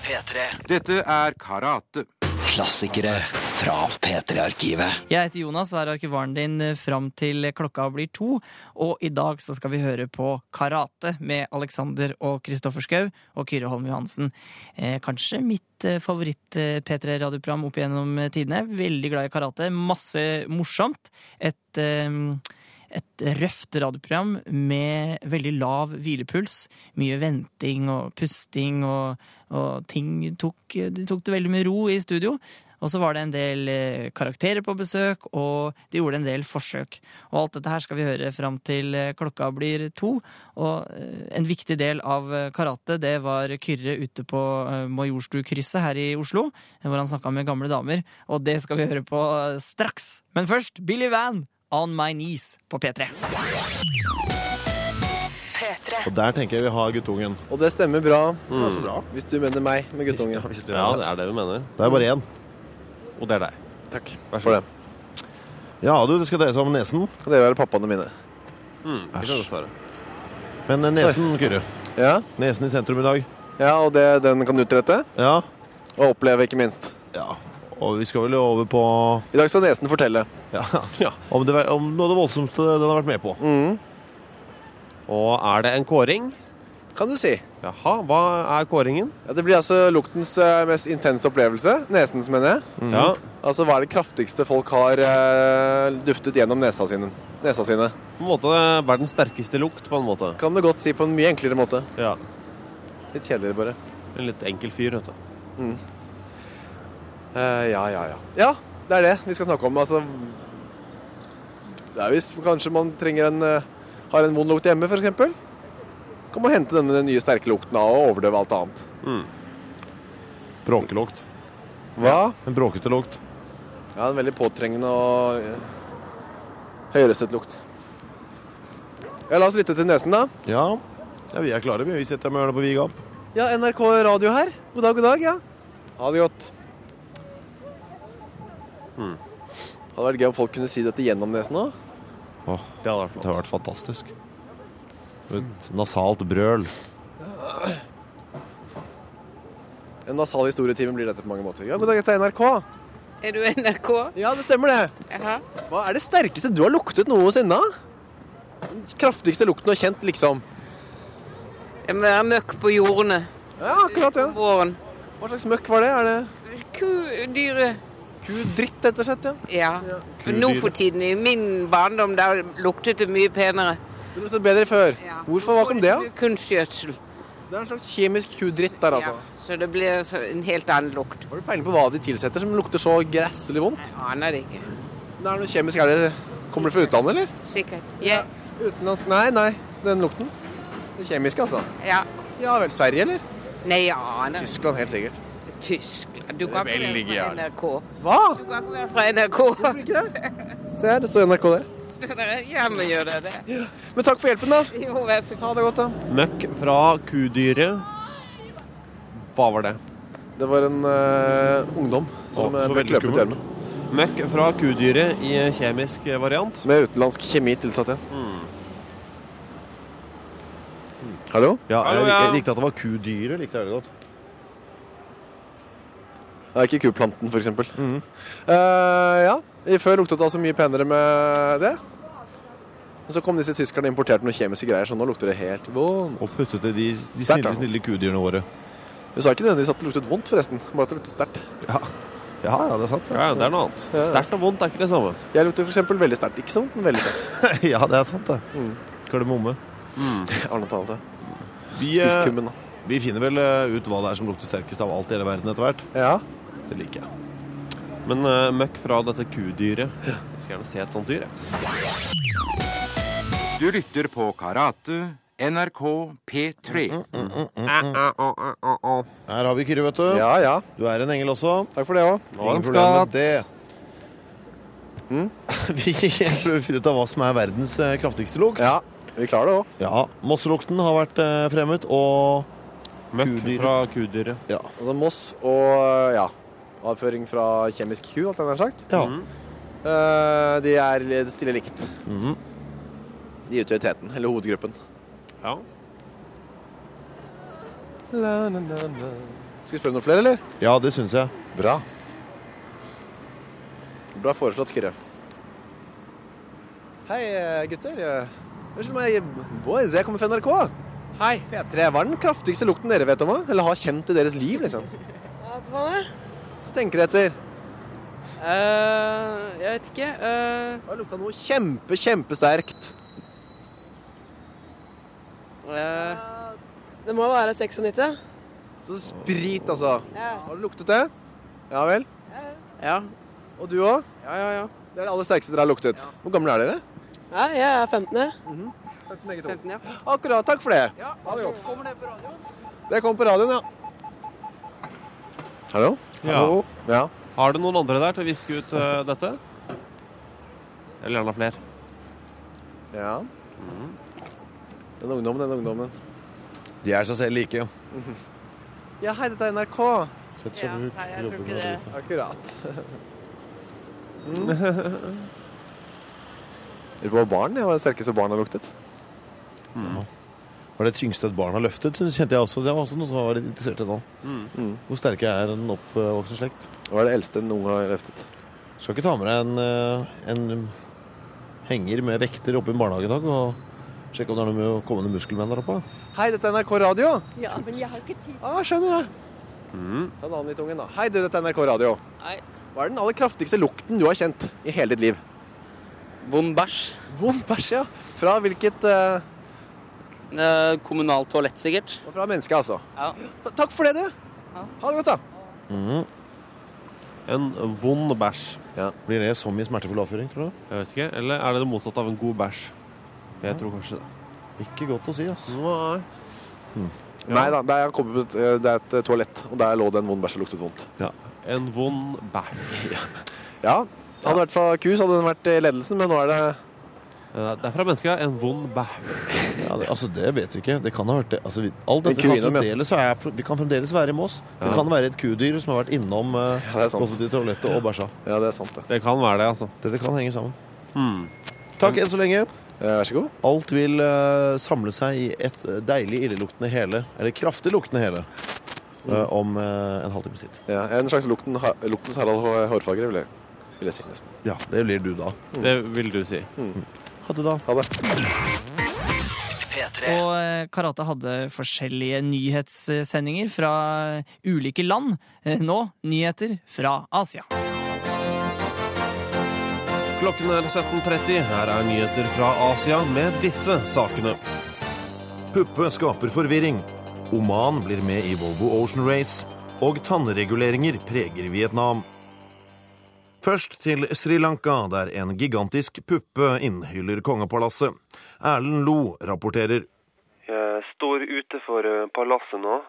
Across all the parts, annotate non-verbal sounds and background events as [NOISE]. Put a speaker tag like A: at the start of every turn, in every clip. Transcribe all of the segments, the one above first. A: P3.
B: Dette er karate.
A: Klassikere fra P3-arkivet.
C: Jeg heter Jonas og er arkivaren din eh, fram til klokka blir to. Og i dag så skal vi høre på karate med Alexander og Kristoffer Schou og Kyrre Holm Johansen. Eh, kanskje mitt eh, favoritt-P3-radioprogram opp gjennom tidene. Veldig glad i karate. Masse morsomt. Et eh, et røft radioprogram med veldig lav hvilepuls. Mye venting og pusting, og, og ting tok, de tok det veldig med ro i studio. Og så var det en del eh, karakterer på besøk, og de gjorde en del forsøk. Og alt dette her skal vi høre fram til eh, klokka blir to. Og eh, en viktig del av eh, karate, det var Kyrre ute på eh, Majorstukrysset her i Oslo, eh, hvor han snakka med gamle damer. Og det skal vi høre på eh, straks. Men først Billy Van! On My Knees på P3.
D: Og der tenker jeg vi har guttungen.
E: Og det stemmer bra,
D: Ja, så bra.
E: hvis du mener meg med guttungen.
F: Ja, det er det vi mener.
D: Det er bare én.
F: Og det er deg.
E: Takk
F: Vær
E: for det.
D: Ja, du, det skal dreie seg om nesen.
E: Kan dere være pappaene mine?
F: Mm, det kan godt være.
D: Men eh, nesen, Kyrre.
E: Ja,
D: Nesen i sentrum i dag.
E: ja og det, den kan du utrette.
D: Ja.
E: Og oppleve, ikke minst.
D: ja. Og vi skal vel over på
E: I dag skal nesen fortelle.
D: [LAUGHS] ja.
F: Ja.
D: om, det, om noe av det voldsomste den har vært med på.
F: Og er det en kåring?
E: Kan du si.
F: Jaha, hva er kåringen?
E: Ja, det blir altså luktens eh, mest intense opplevelse. Nesens, mener jeg.
F: Ja.
E: Altså, hva er det kraftigste folk har eh, duftet gjennom nesa sine? nesa sine?
F: På en måte verdens sterkeste lukt, på en måte.
E: Kan du godt si på en mye enklere måte.
F: Ja.
E: Litt kjedeligere, bare.
F: En litt enkel fyr, vet du.
E: Eh, ja, ja, ja. Ja, det er det vi skal snakke om. Altså, det er hvis kanskje man trenger en eh, har en vond lukt hjemme, f.eks. Kan man hente denne nye sterke lukten av og overdøve alt annet.
D: Bråkelukt.
E: Hva?
D: En bråkete lukt.
E: Ja, en veldig påtrengende og eh, høyrøstet lukt. Ja, La oss lytte til nesen, da.
D: Ja. ja, vi er klare. Vi Vi setter med ørene på vid gap.
E: Ja, NRK Radio her. God dag, god dag. Ja. Ha det godt. Hmm. Hadde vært gøy om folk kunne si dette gjennom nesen òg.
D: Åh,
F: Det hadde vært
D: det har
F: flott.
D: vært fantastisk. Et nasalt brøl.
E: En nasal historietime blir dette på mange måter. Ja, god dag, dette er NRK.
G: Er du NRK?
E: Ja, det stemmer det.
G: Jaha.
E: Hva er det sterkeste du har luktet noensinne? Den kraftigste lukten du har kjent, liksom.
G: Jeg må være møkk på jordene
E: Ja, akkurat
G: på
E: ja.
G: våren.
E: Hva slags møkk var det? Er det
G: Kudyret.
E: kudritt, rett og slett? Ja.
G: Ja. Men nå for tiden, i min barndom, da luktet det mye penere.
E: Du luktet bedre før. Hvorfor? Hva kom det av?
G: Det er Kunstgjødsel.
E: Det er en slags kjemisk kudritt der, altså.
G: Ja, så det blir så- en helt annen lukt.
E: Har du peiling på hva de tilsetter som lukter så gresselig vondt?
G: Jeg aner det ikke.
E: Det er noe kjemisk er det Kommer det fra utlandet, eller?
G: Sikkert. Ja.
E: Utenlandsk Nei, nei. Den lukten. Det kjemiske, altså.
G: ja.
E: Ja vel. Sverige, eller?
G: Nei, jeg aner ikke.
E: Tyskland, helt sikkert.
G: Tyskland. Du kan ikke være
E: Belgia.
G: fra NRK.
E: Hva?
G: Du kan ikke være fra NRK.
E: Hvorfor ikke det? Se her, det står NRK der.
G: Ja, men gjør det det?
E: Men takk for hjelpen, da.
G: Jo, vær så god.
E: Ha det godt, da.
F: Møkk fra kudyret. Hva var det?
E: Det var en eh, ungdom som
D: Å, så
E: eh, ble
D: veldig
E: kløpet i
D: skummelt.
E: armen.
F: Møkk fra kudyret i kjemisk variant.
E: Med utenlandsk kjemi tilsatt igjen.
F: Mm.
E: Mm. Hallo?
D: Ja,
F: Hallo,
D: jeg,
F: ja.
D: jeg likte at det var kudyret. Likte jeg veldig godt.
E: Ja, ikke kuplanten, for eksempel.
F: Mm.
E: Eh, ja, I før luktet det altså mye penere med det. Men så kom disse tyskerne og importerte noen kjemiske greier, så nå lukter det helt vondt.
D: Og puttet i de, de
E: Sterkt,
D: snille,
E: da.
D: snille kudyrene våre.
E: Du sa ikke nødvendigvis at det luktet vondt, forresten. Bare at det luktet sterkt.
D: Ja, ja, ja det er sant.
F: Ja, det er noe annet.
E: Ja, ja.
F: Sterkt og vondt er ikke det samme.
E: Jeg lukter for eksempel veldig sterkt. Ikke så vondt, men veldig sterkt.
D: Ja, det [LAUGHS] er sant, det. Kardemomme.
E: Jeg har noe annet, ja.
D: Vi,
E: Spis
D: eh,
E: kummen, da.
D: vi finner vel eh, ut hva det er som lukter sterkest av alt i hele verden etter hvert.
E: Ja.
D: Det liker jeg.
F: Men eh, møkk fra dette kudyret. Jeg skal gjerne se et sånt dyr. jeg.
B: Du lytter på karate. NRK P3.
F: Mm-hmm.
D: Her har vi Kyrre, vet du.
E: ja, ja.
D: Du er en engel også.
E: Takk for det òg.
F: Nå
D: Ingen
F: er han
D: problem med
F: skatt.
D: det. Mm? [LAUGHS] Vi prøver å finne ut av hva som er verdens eh, kraftigste lukt.
E: Ja, vi klarer det òg.
D: Ja, Mosselukten har vært eh, fremmet, og
F: Møkk
D: Kudyret.
F: fra kudyret.
D: ja.
E: Altså Moss og ja, avføring fra kjemisk ku, alt det der sagt.
D: ja.
F: Mm.
E: Eh, de er li- stille likt.
D: Mhm.
E: De utgjør teten, eller hovedgruppen.
F: Ja.
E: La, na, na, na. Skal vi spørre noen flere, eller?
D: Ja, det syns jeg.
E: Bra. Bra foreslått, Kyrre. Hei, eh, gutter. Eh, Unnskyld meg, boys. Jeg kommer fra NRK.
H: Hei.
E: P3, hva er den kraftigste lukten dere vet om? da? Eller har kjent i deres liv, liksom?
H: Hva var det?
E: Så tenker dere etter.
H: Eh, jeg vet ikke. eh,
E: Det har lukta noe kjempe, kjempesterkt.
H: eh, det må være 96.
E: Så sprit, altså.
H: Ja.
E: Har du luktet det? Ja vel.
H: Ja,
E: Og du òg?
H: ja, ja. ja.
E: Det er det aller sterkeste dere har luktet. Hvor gamle er dere?
H: Nei, jeg er 15. jeg.
E: 15, begge to.
H: 15 ja.
E: Akkurat. Takk for det. Ja, ha det godt. Det kommer på radioen, ja. Hallo?
F: Ja.
E: Ja.
F: Har du noen andre der til å viske ut eh, dette? Eller gjerne flere. Mhm.
E: ja. Den ungdommen, den ungdommen.
D: De er seg selv like.
E: Ja, hei, dette er NRK.
D: Sett så ut. Jobber med det.
F: [LAUGHS]
E: Akkurat. Det var barn, det var det sterkeste barn har luktet.
D: Var det tyngste et barn har løftet, synes, kjente jeg også. Det var også noe som var litt interessert i nå.
F: Mm.
D: Hvor sterke er en oppvoksen slekt?
E: Det var det eldste noen har løftet.
D: Skal ikke ta med deg en, eh, en henger med vekter oppe i en barnehage i dag og sjekke om det er noe med å komme noen muskelmenn der oppe?
E: Hei, dette er NRK Radio.
I: Ja, men jeg har ikke tid.
E: Ah, skjønner jeg.
H: Mm.
E: Ta en annen litt ungen, da. Hei, du, dette er NRK Radio.
H: Hei.
E: Hva er den aller kraftigste lukten du har kjent i hele ditt liv?
H: Vond bæsj.
E: Vond bæsj, ja. Fra hvilket eh,
H: Eh, kommunalt toalett, sikkert.
E: og Fra mennesket, altså.
H: Ja.
E: Ta- Takk for det, du. Ha det godt, da.
F: En vond bæsj.
D: Blir det som i smertefull avføring, tror du?
F: Jeg vet ikke. Eller er det det motsatte av en god bæsj? Jeg tror kanskje det.
D: Ikke godt å si, ass.
F: Nei.
E: Nei da, det er, jeg kommer på et, eh, det er et eh, toalett, og der lå det en vond bæsj og luktet vondt.
F: En vond bæsj.
E: Ja. Hadde det vært fra ku, så hadde den vært i ledelsen, men nå er det
F: Eh, Det er fra mennesket. En vond bæsj.
D: Ja, det, altså, det vet vi ikke. Det kan ha vært det. Altså, vi, alt
E: En
D: dette kan
E: kuinum, ja.
D: fremdeles, være- vi kan fremdeles være i Moss. Det
F: Ja.
D: kan være et kudyr som har vært innom uh,
E: Ja, det er sant.
D: offentlige toalettet og bæsja.
E: Ja, det er sant, det.
F: Det kan være det, altså.
D: Dette kan henge sammen.
F: Mm.
D: Hmm. Takk enn så lenge.
E: Eh, Vær så god.
D: Alt vil eh, samle seg i et eh, deilig illeluktende hele, eller kraftig luktende hele, eh, om eh, en halvtimes tid.
E: Ja, en slags lukten, ha- luktens Harald Hå- Hårfagre, vil jeg, vil jeg si. nesten.
D: Ja, det blir du da.
F: Det vil du si.
D: Ha det da.
E: Ha det.
A: P3.
C: Og eh, Karate hadde forskjellige nyhetssendinger fra ulike land. Eh, Nå nyheter fra Asia.
F: Klokken er 17.30. Her er nyheter fra Asia med disse sakene.
D: Puppe skaper forvirring. Oman blir med i Volvo Ocean Race. Og tannreguleringer preger Vietnam. Først til Sri Lanka, der en gigantisk puppe innhyller kongepalasset. Erlend Lo rapporterer.
J: Jeg står utenfor eh, palasset nå,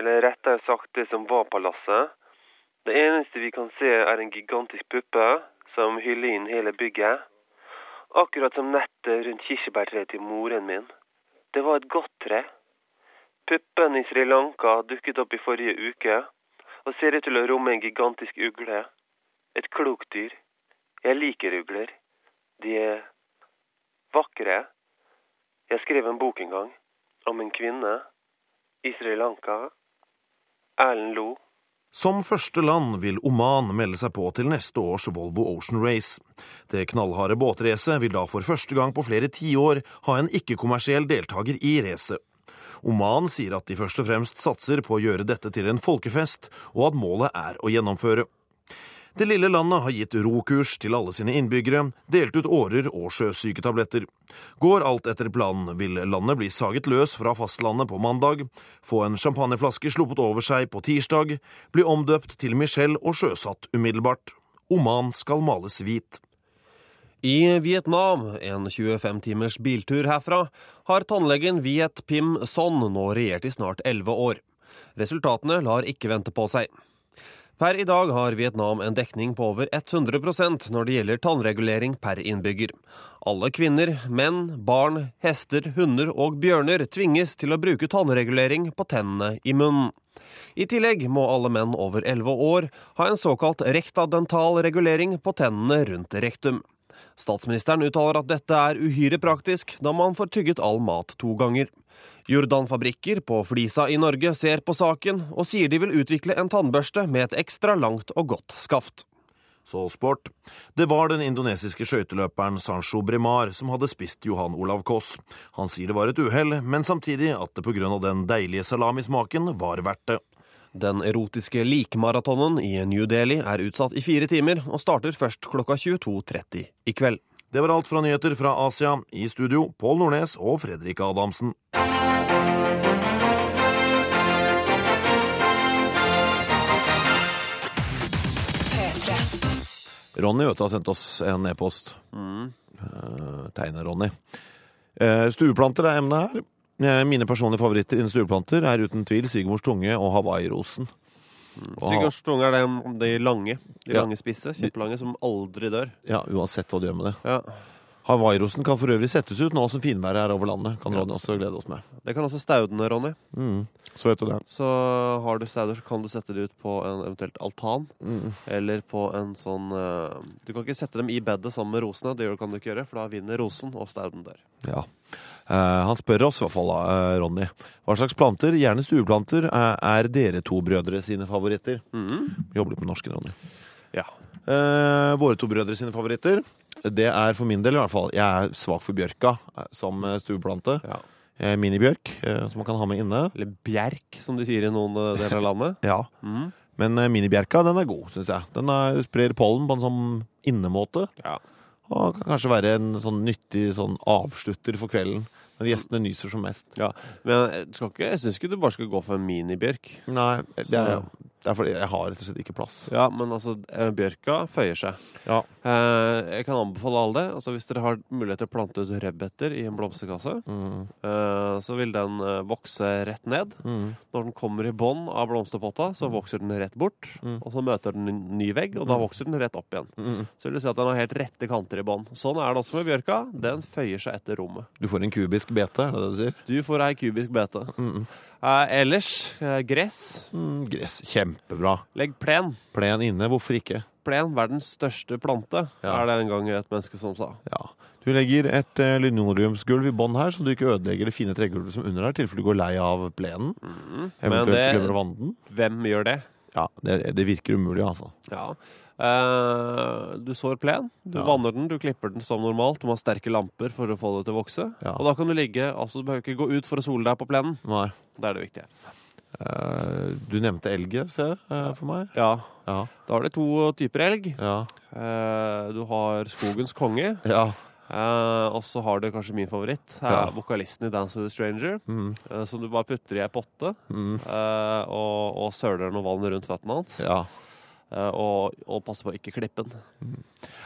J: eller rettere sagt det som var palasset. Det eneste vi kan se er en gigantisk puppe som hyller inn hele bygget. Akkurat som nettet rundt kirsebærtreet til moren min. Det var et godt tre. Puppen i Sri Lanka dukket opp i forrige uke, og ser ut til å romme en gigantisk ugle. Et klokt dyr. Jeg liker ugler. De er vakre. Jeg skrev en bok en gang om en kvinne i Sri Lanka. Erlend lo.
D: Som første land vil Oman melde seg på til neste års Volvo Ocean Race. Det knallharde båtracet vil da for første gang på flere tiår ha en ikke-kommersiell deltaker i racet. Oman sier at de først og fremst satser på å gjøre dette til en folkefest, og at målet er å gjennomføre. Det lille landet har gitt rokurs til alle sine innbyggere, delt ut årer og sjøsyketabletter. Går alt etter planen, vil landet bli saget løs fra fastlandet på mandag, få en champagneflaske sluppet over seg på tirsdag, bli omdøpt til Michelle og sjøsatt umiddelbart. Oman skal males hvit.
F: I Vietnam, en 25 timers biltur herfra, har tannlegen Viet Pim Son nå regjert i snart 11 år. Resultatene lar ikke vente på seg. Per i dag har Vietnam en dekning på over 100 når det gjelder tannregulering per innbygger. Alle kvinner, menn, barn, hester, hunder og bjørner tvinges til å bruke tannregulering på tennene i munnen. I tillegg må alle menn over 11 år ha en såkalt rektadental regulering på tennene rundt rektum. Statsministeren uttaler at dette er uhyre praktisk, da man får tygget all mat to ganger. Jordan-fabrikker på Flisa i Norge ser på saken og sier de vil utvikle en tannbørste med et ekstra langt og godt skaft.
D: Så sport. Det var den indonesiske skøyteløperen Sancho Bremar som hadde spist Johan Olav Koss. Han sier det var et uhell, men samtidig at det på grunn av den deilige salamismaken var verdt det.
F: Den erotiske likmaratonen i New Delhi er utsatt i fire timer og starter først klokka 22.30 i kveld.
D: Det var alt fra nyheter fra Asia. I studio Pål Nordnes og Fredrik Adamsen. Ronny vet du, har sendt oss en e-post. Eh, Tegner-Ronny. Eh, stueplanter er emnet her. Eh, mine personlige favoritter innen stueplanter er uten tvil Sigmors tunge og hawaiirosen. Og ha-
F: Sigurds tunge er de, de lange, de
D: Ja.
F: lange spisse, kjempelange, som aldri dør.
D: Ja, uansett hva du gjør med det.
F: Ja.
D: Hawaiirosen kan for øvrig settes ut nå som finværet er over landet. Kan Ronny også glede oss med.
F: Det kan også staudene, Ronny.
D: Mm. Så vet du det.
F: Så har du stauder, så kan du sette det ut på en eventuelt altan.
D: Mm.
F: Eller på en sånn eh, Du kan ikke sette dem i bedet sammen med rosene. Det gjør- kan du ikke gjøre, for da vinner rosen, og stauden dør.
D: Ja. Eh, han spør oss i hvert fall, eh, Ronny. Hva slags planter, gjerne stueplanter, eh, er dere to brødre sine favoritter?
F: Mhm.
D: Vi jobber litt med norsken, Ronny.
F: Ja.
D: Eh, våre to brødre sine favoritter, det er for min del i hvert fall Jeg er svak for bjørka eh, som eh, stueplante.
F: Ja.
D: Eh, minibjørk, eh, som man kan ha med inne.
F: Eller bjerk, som de sier i noen eh, deler av landet.
D: Ja.
F: Mhm.
D: Men eh, minibjerka, den er god, syns jeg. Den er, sprer pollen på en sånn innemåte.
F: Ja.
D: Og kan kanskje være en sånn nyttig sånn avslutter for kvelden, når gjestene nyser som mest.
F: Men jeg, skal ikke, jeg syns ikke du bare skal gå for en minibjørk.
D: Nei, det er,
F: Så-
D: det er fordi jeg har rett og slett ikke plass.
F: Ja, men altså, eh, bjørka føyer seg.
D: Ja.
F: Eh, jeg kan anbefale alle det. Altså, hvis dere har mulighet til å plante ut rødbeter i en blomsterkasse,
D: Mm.
F: eh, så vil den eh, vokse rett ned.
D: Mm.
F: Når den kommer i bånn av blomsterpotta, så vokser den rett bort.
D: Mm.
F: Og så møter den en ny vegg, og da
D: Mm.
F: vokser den rett opp igjen.
D: Mm.
F: Så vil du si at den har helt rette kanter i bånn. Sånn er det også med bjørka. Den føyer seg etter rommet.
D: Du får en kubisk bete, er det det du sier?
F: Du får ei kubisk bete.
D: Mm.
F: Eh, ellers eh, gress.
D: Mm. Gress. Kjempebra.
F: Legg plen.
D: Plen inne, hvorfor ikke?
F: Plen, verdens største plante,
D: Ja.
F: er det en gang et menneske som sa.
D: Ja. Du legger et eh, linoleumsgulv i bånn her, så du ikke ødelegger det fine tregulvet som under her, i tilfelle du går lei av plenen.
F: Men
D: Eventuelt
F: det-
D: glemmer å vanne den.
F: Hvem gjør det?
D: Ja, det, det virker umulig, altså.
F: Ja. Eh, du sår plen, du
D: Ja.
F: vanner den, du klipper den som normalt. Du må ha sterke lamper for å få det til å vokse.
D: Ja.
F: Og da kan du ligge altså Du behøver ikke gå ut for å sole deg på plenen.
D: Nei.
F: Det er det viktige.
D: Eh, du nevnte elg, ser jeg, eh, for meg.
F: Ja.
D: Ja.
F: Da har du to typer elg.
D: Ja.
F: Eh, du har skogens konge,
D: ja.
F: eh, og så har du kanskje min favoritt, eh,
D: Ja.
F: vokalisten i Dance with a Stranger,
D: Mm.
F: eh, som du bare putter i ei potte
D: Mm.
F: eh, og, og søler noe vann rundt føttene hans.
D: ja.
F: eh, og, og passer på å ikke klippe den.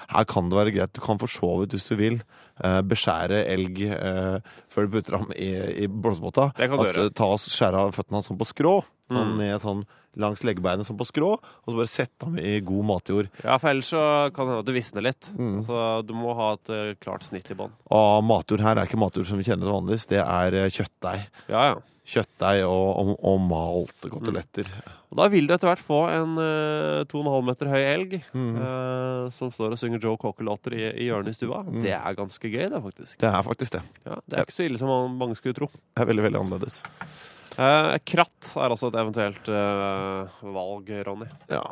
D: Her kan det være greit. Du kan for så vidt, hvis du vil, eh, beskjære elg eh, før du putter ham i, i blomsterbåta.
F: Det kan du gjøre.
D: Ta og skjære av føttene hans sånn på skrå. Ta han
F: Mm.
D: ned sånn langs leggebeinet sånn på skrå, og så bare sette ham i god matjord.
F: Ja, for ellers så kan det hende at det visner litt. Så du må ha et eh, klart snitt i bånn.
D: Og matjord her er ikke matjord som vi kjenner som vanligvis, det er eh, kjøttdeig.
F: Ja, ja.
D: Kjøttdeig og, og, og
F: Mm.
D: malte koteletter.
F: Og da vil du etter hvert få en eh, 2,5 meter høy elg
D: Mm.
F: eh, som står og synger Joe Cocker-låter i, i hjørnet i stua. Det er ganske gøy, det, faktisk.
D: Det er faktisk det.
F: Mm. Ja, det er ikke så ille som man- mange skulle tro.
D: Det er veldig, veldig annerledes.
F: Eh, kratt er altså et eventuelt eh, valg, Ronny.
D: Ja,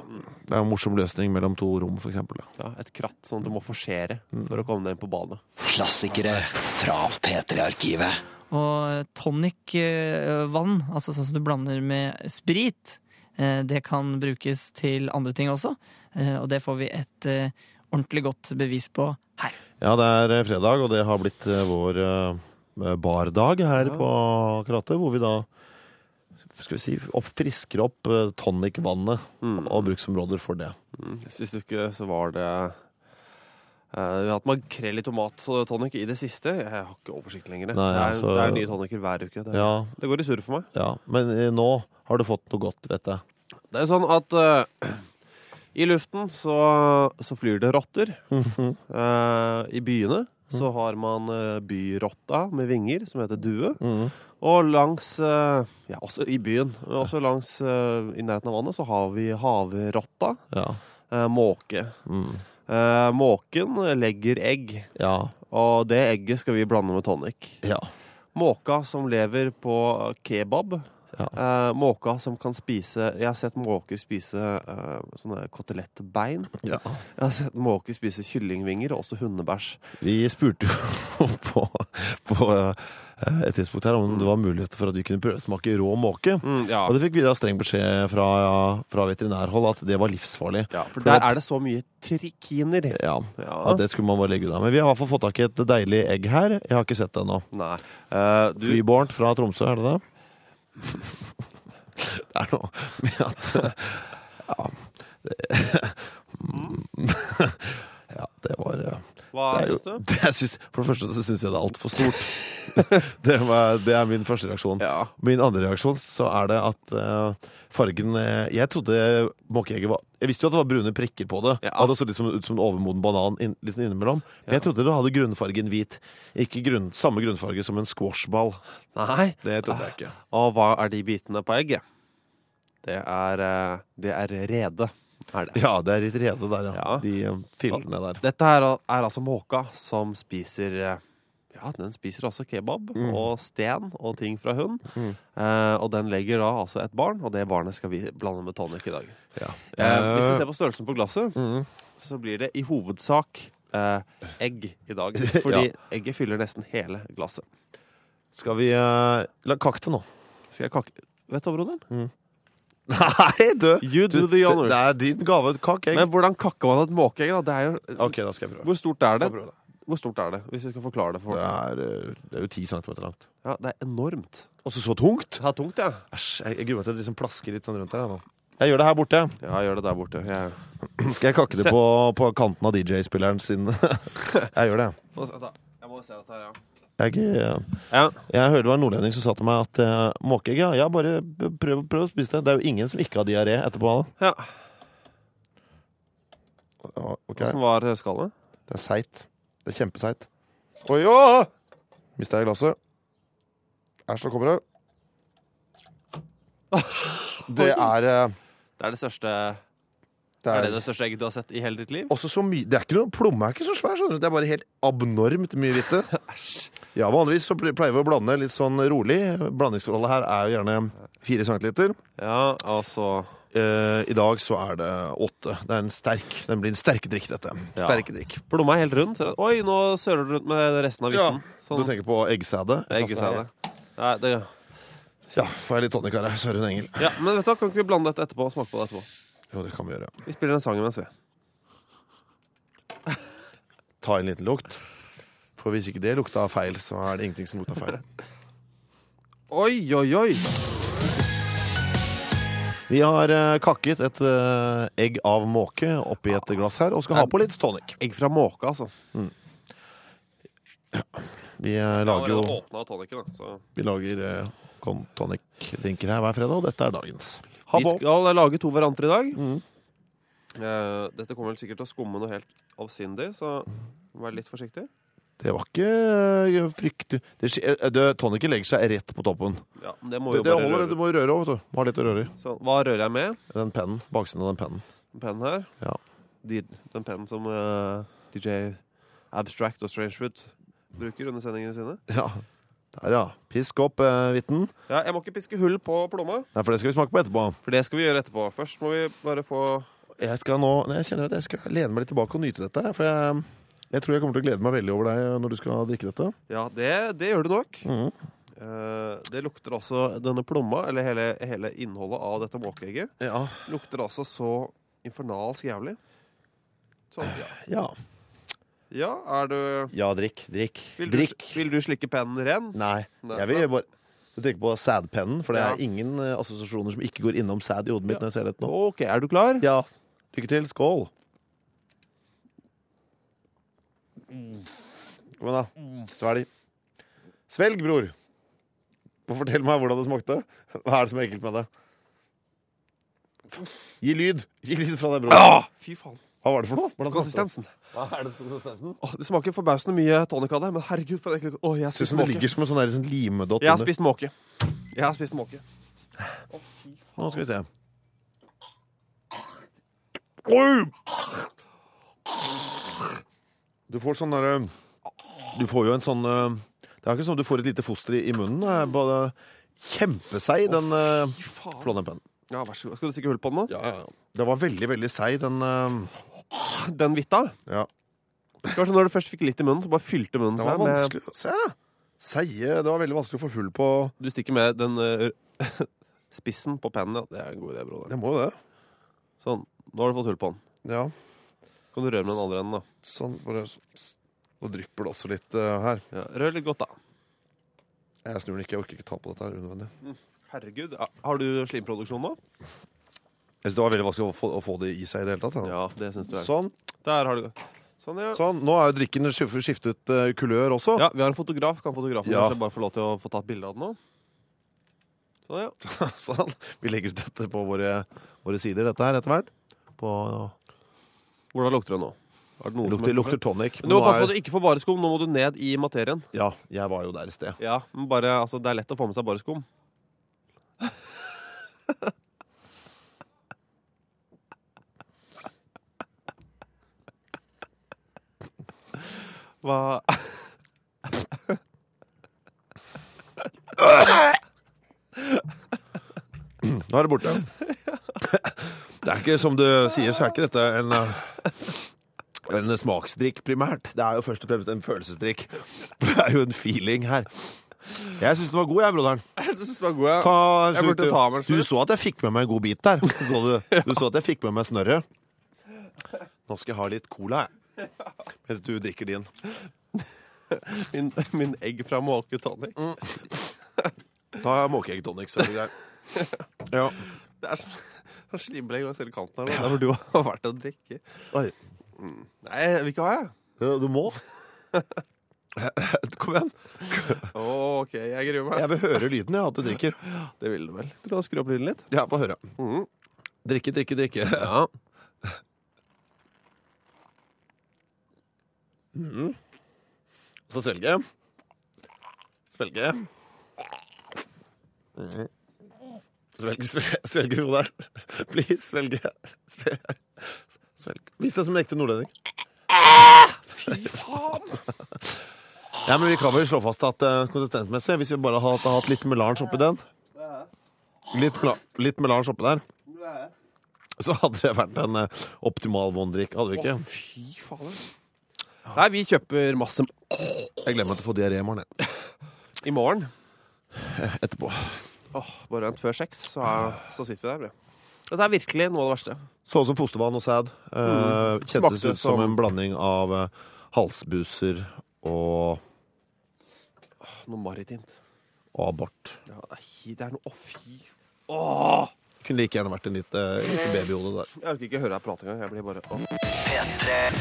D: Det er en morsom løsning mellom to rom, for eksempel. da.
F: Ja, et kratt sånn at du må forsere
D: Mm.
F: for å komme deg inn på badet.
A: Klassikere fra P3-arkivet.
C: Og tonic-vann, altså sånn som du blander med sprit, eh, det kan brukes til andre ting også. Eh, Og det får vi et eh, ordentlig godt bevis på her.
D: Ja, det er eh, fredag, og det har blitt eh, vår eh, bardag her
F: Ja.
D: på Kratet, hvor vi da skal vi si, opp, frisker opp eh, tonicvannet
F: Mm.
D: og bruksområder for det.
F: Mm. Sist uke så var det eh, Vi har hatt makrell i tomat-tonic i det siste. Jeg har ikke oversikt lenger.
D: Nei,
F: det, er,
D: altså-
F: det er nye tonicer hver uke. Det,
D: Ja,
F: det går i surr for meg.
D: ja. Men eh, nå har du fått noe godt, vet [LAUGHS] jeg.
F: Det er sånn at eh, [CLEARS THROAT] i luften så, så flyr det rotter.
D: Mm-hmm.
F: Eh, I byene
D: Mm.
F: så har man eh, byrotta med vinger, som heter due.
D: Mhm.
F: Og langs eh, Ja, også i byen. men Også langs eh, i nærheten av vannet så har vi havrotta,
D: Ja.
F: eh, måke.
D: Mm.
F: Eh, måken legger egg,
D: ja.
F: og det egget skal vi blande med tonic.
D: Ja.
F: Måka som lever på kebab. Eh, måka som kan spise Jeg har sett måker spise eh, sånne kotelettbein.
D: Ja.
F: Jeg har sett måker spise kyllingvinger og også hundebæsj.
D: Vi spurte jo [LAUGHS] på, på eh, et tidspunkt her om det var muligheter for at vi kunne prøvesmake rå måke.
F: ja.
D: Og det fikk vi da streng beskjed fra, fra veterinærhold at det var livsfarlig.
F: ja, for der er det så mye trikiner.
D: Ja,
F: Ja.
D: ja det skulle man bare legge unna. Men vi har i hvert fall fått tak i et deilig egg her. Jeg har ikke sett det ennå.
F: Nei. Eh, du,
D: Flybornt fra Tromsø, er det [LAUGHS] det? det er noe med at eh, Ja. [LAUGHS] det- ja, det var eh,
F: hva
D: det er jo-
F: syns du?
D: Det [LAUGHS] jeg syns- for det første så syns jeg det er altfor stort. [LAUGHS] det, var, det er min første reaksjon.
F: Ja.
D: Min andre reaksjon så er det at eh, fargen eh, Jeg trodde måkeegget var Jeg visste jo at det var brune prikker på det.
F: Ja.
D: Og det så litt som, ut som en overmoden banan inn, litt innimellom. Men jeg trodde det hadde grunnfargen hvit. Ikke grunn, samme grunnfarge som en squashball.
F: Nei.
D: Det trodde jeg ikke.
F: Og hva er de bitene på egget? Det er, eh, det er rede, er det.
D: Ja, det er litt rede der, ja.
F: Ja.
D: De eh, fillene der.
F: Dette her er altså måka som spiser eh, Ja, den spiser også kebab
D: Mm.
F: og sten og ting fra hund. Eh, og den legger da altså et barn, og det barnet skal vi blande med tonic i dag. Eh, hvis du ser på størrelsen på glasset,
D: Eh, mm.
F: så blir det i hovedsak eh, egg i
D: [LAUGHS]
F: dag. Fordi egget fyller nesten hele glasset.
D: Skal vi eh, La kakte nå.
F: Skal jeg kakke Vet du hva, broderen?
D: [LAUGHS] Nei, du!
F: You do the honors.
D: Det er din gave. Kakk egg.
F: Men hvordan kakker man et måkeegg? da? Det er jo
D: OK, da skal jeg prøve.
F: Hvor stort er det?
D: Skal jeg prøve det.
F: Hvor stort er det? Hvis vi skal forklare det for
D: Det er, eh, det er jo ti centimeter langt.
F: Ja, det er enormt.
D: Og så så tungt!
F: Det er tungt, ja.
D: Æsj, jeg, jeg gruer meg til det liksom plasker litt sånn rundt her. jeg, nå. Jeg gjør det her borte.
F: Ja, gjør det der borte. Jeg
D: Skal jeg kakke
F: Se.
D: det på, på kanten av DJ-spilleren sin? [LAUGHS] jeg gjør det.
F: Få se, da. Jeg må se dette her, ja.
D: Jeg, jeg,
F: Ja,
D: jeg hørte det var en nordlending som sa til meg at uh, måkeegg, ja, ja, bare prøv, prøv å spise det. Det er jo ingen som ikke har diaré etterpå. da.
F: ja.
D: Ja, ok.
F: Hvordan var skallet?
D: Det er seigt. Det er kjempeseigt. Oi, ja! Mista jeg glasset. Æsj, nå [LAUGHS] kommer det. Det er, eh,
F: Det er det største
D: det
F: Er det
D: er
F: det største egget du har sett i hele ditt liv?
D: også så mye Det er ikke noe Plomme er ikke så svær, skjønner du. Det er bare helt abnormt mye hvitte. Ja, vanligvis så ple- pleier vi å blande litt sånn rolig. Blandingsforholdet her er jo gjerne fire centiliter.
F: Ja, altså
D: Eh, I dag så er det åtte. Det er en sterk Den blir en sterk drikk, dette.
F: Ja.
D: Sterk drikk.
F: Plomma er helt rund. ser du. Oi, nå søler du rundt med resten av Sånn.
D: Ja,
F: hvitten.
D: Du tenker på eggsæde?
F: Eggesæde. Nei, det
D: Ja, får jeg litt tonic her, jeg. Søren Engel.
F: Ja, men vet du hva, kan ikke vi blande dette etterpå og smake på det etterpå?
D: Jo, det kan vi gjøre.
F: Vi spiller en sang imens, vi.
D: ta en liten lukt. For hvis ikke det lukta feil, så er det ingenting som lukta feil.
F: Oi, oi, oi!
D: Vi har eh, kakket et eh, egg av måke oppi et glass her, og skal ha på litt tonic.
F: Egg fra måke, altså.
D: Vi eh, lager jo
F: åpna toniken, da. Så.
D: vi lager eh, con tonic-drinker her hver fredag, og dette er dagens. Mm. Ha
F: Vi
D: på!
F: skal lage to hverandre i dag. Eh, dette kommer vel sikkert til å skumme noe helt avsindig, så vær litt forsiktig.
D: Det var ikke eh, fryktelig det, skje- eh, det, Tonicen legger seg rett på toppen.
F: Ja, men det må
D: Det,
F: jo
D: det
F: bare
D: holder,
F: røre.
D: du må røre òg, vet du. Må ha litt å røre i.
F: Sånn, hva rører jeg med?
D: Den pennen. Baksiden av den pennen. [LAUGHS]
F: Pennen her.
D: Ja.
F: De, den pennen som eh, DJ Abstract og Strangewood bruker under sendingene sine.
D: Ja. Der, ja. Pisk opp eh, hvitten.
F: Ja, jeg må ikke piske hull på plomma,
D: Nei, for det skal vi smake på etterpå.
F: for det skal vi gjøre etterpå. Først må vi bare få
D: jeg skal nå nei, Jeg kjenner at jeg skal lene meg litt tilbake og nyte dette. her, For jeg, jeg tror jeg kommer til å glede meg veldig over deg eh, når du skal drikke dette.
F: Ja, det, det gjør du nok.
D: Mhm.
F: Eh, det lukter altså denne plomma, eller hele, hele innholdet av dette måkeegget,
D: Ja.
F: lukter altså så infernalsk jævlig. Sånn, ja.
D: Ja,
F: ja, er du
D: drikk. Drikk.
F: vil, du
D: drikk.
F: vil du slikke pennen ren?
D: Nei,
F: Nei,
D: jeg vil bare Du tenker på sædpennen, for det er
F: Ja.
D: ingen eh, assosiasjoner som ikke går innom sæd i hodet mitt når jeg ser dette nå.
F: OK, er du klar?
D: Ja. Lykke til. Skål. Kom igjen, da. Svelg. Svelg, bror. Og fortell meg hvordan det smakte. Hva er det som er ekkelt med det? Gi lyd. Gi lyd fra deg, bror.
F: Ah, fy faen.
D: Hva var det for noe? Hvordan smakte det?
F: Konsistensen.
D: Hva er det som- konsistensen?
F: Åh, det smaker forbausende mye tonic av det, men herregud for en ekkel Åh, jeg har
D: Ser ut
F: spist
D: som det
F: måke.
D: ligger som en sånn der, sånn limedott
F: Jeg har
D: under.
F: spist måke. Jeg har spist måke.
D: Nå skal vi se. Oi! Du får sånn derre Du får jo en sånn eh, Det er ikke sånn at du får et lite foster i i munnen. Det er bare kjempeseig, den eh, flånempen.
F: Ja, vær så god. Skal du stikke hull på den nå?
D: Den var veldig, veldig seig, den eh,
F: Den hvitta?
D: Ja.
F: Kanskje når du først fikk litt i munnen, så bare fylte munnen
D: Den
F: seg
D: var
F: med
D: vanskelig å Se her, da! Seige Det var veldig vanskelig å få hull på
F: Du stikker med den eh, [LAUGHS] spissen på pennen, ja. Det er en god idé, broder.
D: Jeg må jo det.
F: Sånn. Nå har du fått hull på den.
D: Ja.
F: Kan du røre med den andre enden, da?
D: Sånn. Bare Nå drypper det også litt eh, her.
F: Ja. Rør litt godt, da.
D: Jeg snur den ikke. Jeg orker ikke ta på dette her unødvendig.
F: Herregud. ja. Har du slimproduksjon nå?
D: Jeg synes det var veldig vanskelig å få, å få det i seg i det hele tatt. jeg, da.
F: Ja, det syns du er.
D: Sånn.
F: Der har du Sånn, ja.
D: sånn. Nå er jo drikken skif- skiftet eh, kulør også.
F: Ja, vi har en fotograf. Kan fotografen
D: Ja.
F: kanskje bare få lov til å få tatt bilde av den nå? Sånn, ja.
D: [LAUGHS] sånn. Vi legger ut dette på våre, våre sider dette her etter hvert. På,
F: Hvordan lukter det nå? Er det noe som
D: lukter,
F: er-
D: lukter tonic.
F: Men Du må
D: Nå
F: passe på
D: er-
F: at du ikke får bareskum. Nå må du ned i materien.
D: Ja, jeg var jo der i sted.
F: Ja, men bare, altså, Det er lett å få med seg bareskum. Hva
D: Mm, Nå er det
F: [LAUGHS]
D: borte. Det er ikke, som du sier, så er ikke dette en eh, en smaksdrikk primært. Det er jo først og fremst en følelsesdrikk. [LAUGHS] For det er jo en feeling her. Jeg syns den var god, jeg,
F: [LAUGHS]
D: broderen.
F: Du syns den var god, ja.
D: Ta,
F: Jeg burde
D: slutt, du.
F: ta meg en slurk.
D: Du så at jeg fikk med meg en god bit
F: [LAUGHS]
D: der. Så du, du så at jeg fikk med meg snørret. Nå skal jeg ha litt cola, jeg. Mens du drikker din.
F: Min, min egg fra Måke Tonic.
D: Mm. Ta måkeegg tonic, så er det greit. Ja.
F: Det er sånn [LAUGHS] sånn slimbelegg langs hele kanten her. nå, Der hvor du har [LAUGHS] vært og drikke.
D: Oi.
F: Nei, jeg vil ikke ha, jeg.
D: Ja, Du
F: [LAUGHS]
D: må. Kom igjen.
F: Å, OK, jeg gruer meg.
D: Jeg vil høre lyden jeg, at du drikker.
F: Det vil du vel. Du kan skru opp lyden litt. Mm.
D: Ja, få høre. Drikke, drikke, drikke.
F: Ja.
D: Mm. Så svelge. Svelge. Svelge, svelge, svelge, Roder. Please, svelge. Svelge. svelge. Vis deg som en ekte nordlending. Fy faen! Ja, men Vi kan vel slå fast at eh, konsistensmessig, hvis vi bare hadde hatt litt melange oppi den Litt, mela- litt melange oppi der, så hadde det vært en eh, optimal vondrikk. Hadde vi ikke?
F: Fy fader. Nei, vi kjøper masse
D: Jeg glemmer at du får diaré i morgen. jeg. Eh,
F: i morgen.
D: Etterpå.
F: Åh, bare vent før seks, så, er, så sitter vi der. bre. Dette er virkelig noe av det verste.
D: Sånn som fostervann og sæd. Eh, kjentes
F: Mm. Smakte
D: ut som
F: som-
D: en blanding av eh, halsbuser og,
F: Noe maritimt.
D: og abort.
F: Ja, det, er, hi- det er noe Å, fy.
D: Kunne like gjerne vært en lite, lite babyhode der.
F: Jeg orker ikke høre deg prate engang. Jeg blir bare åh.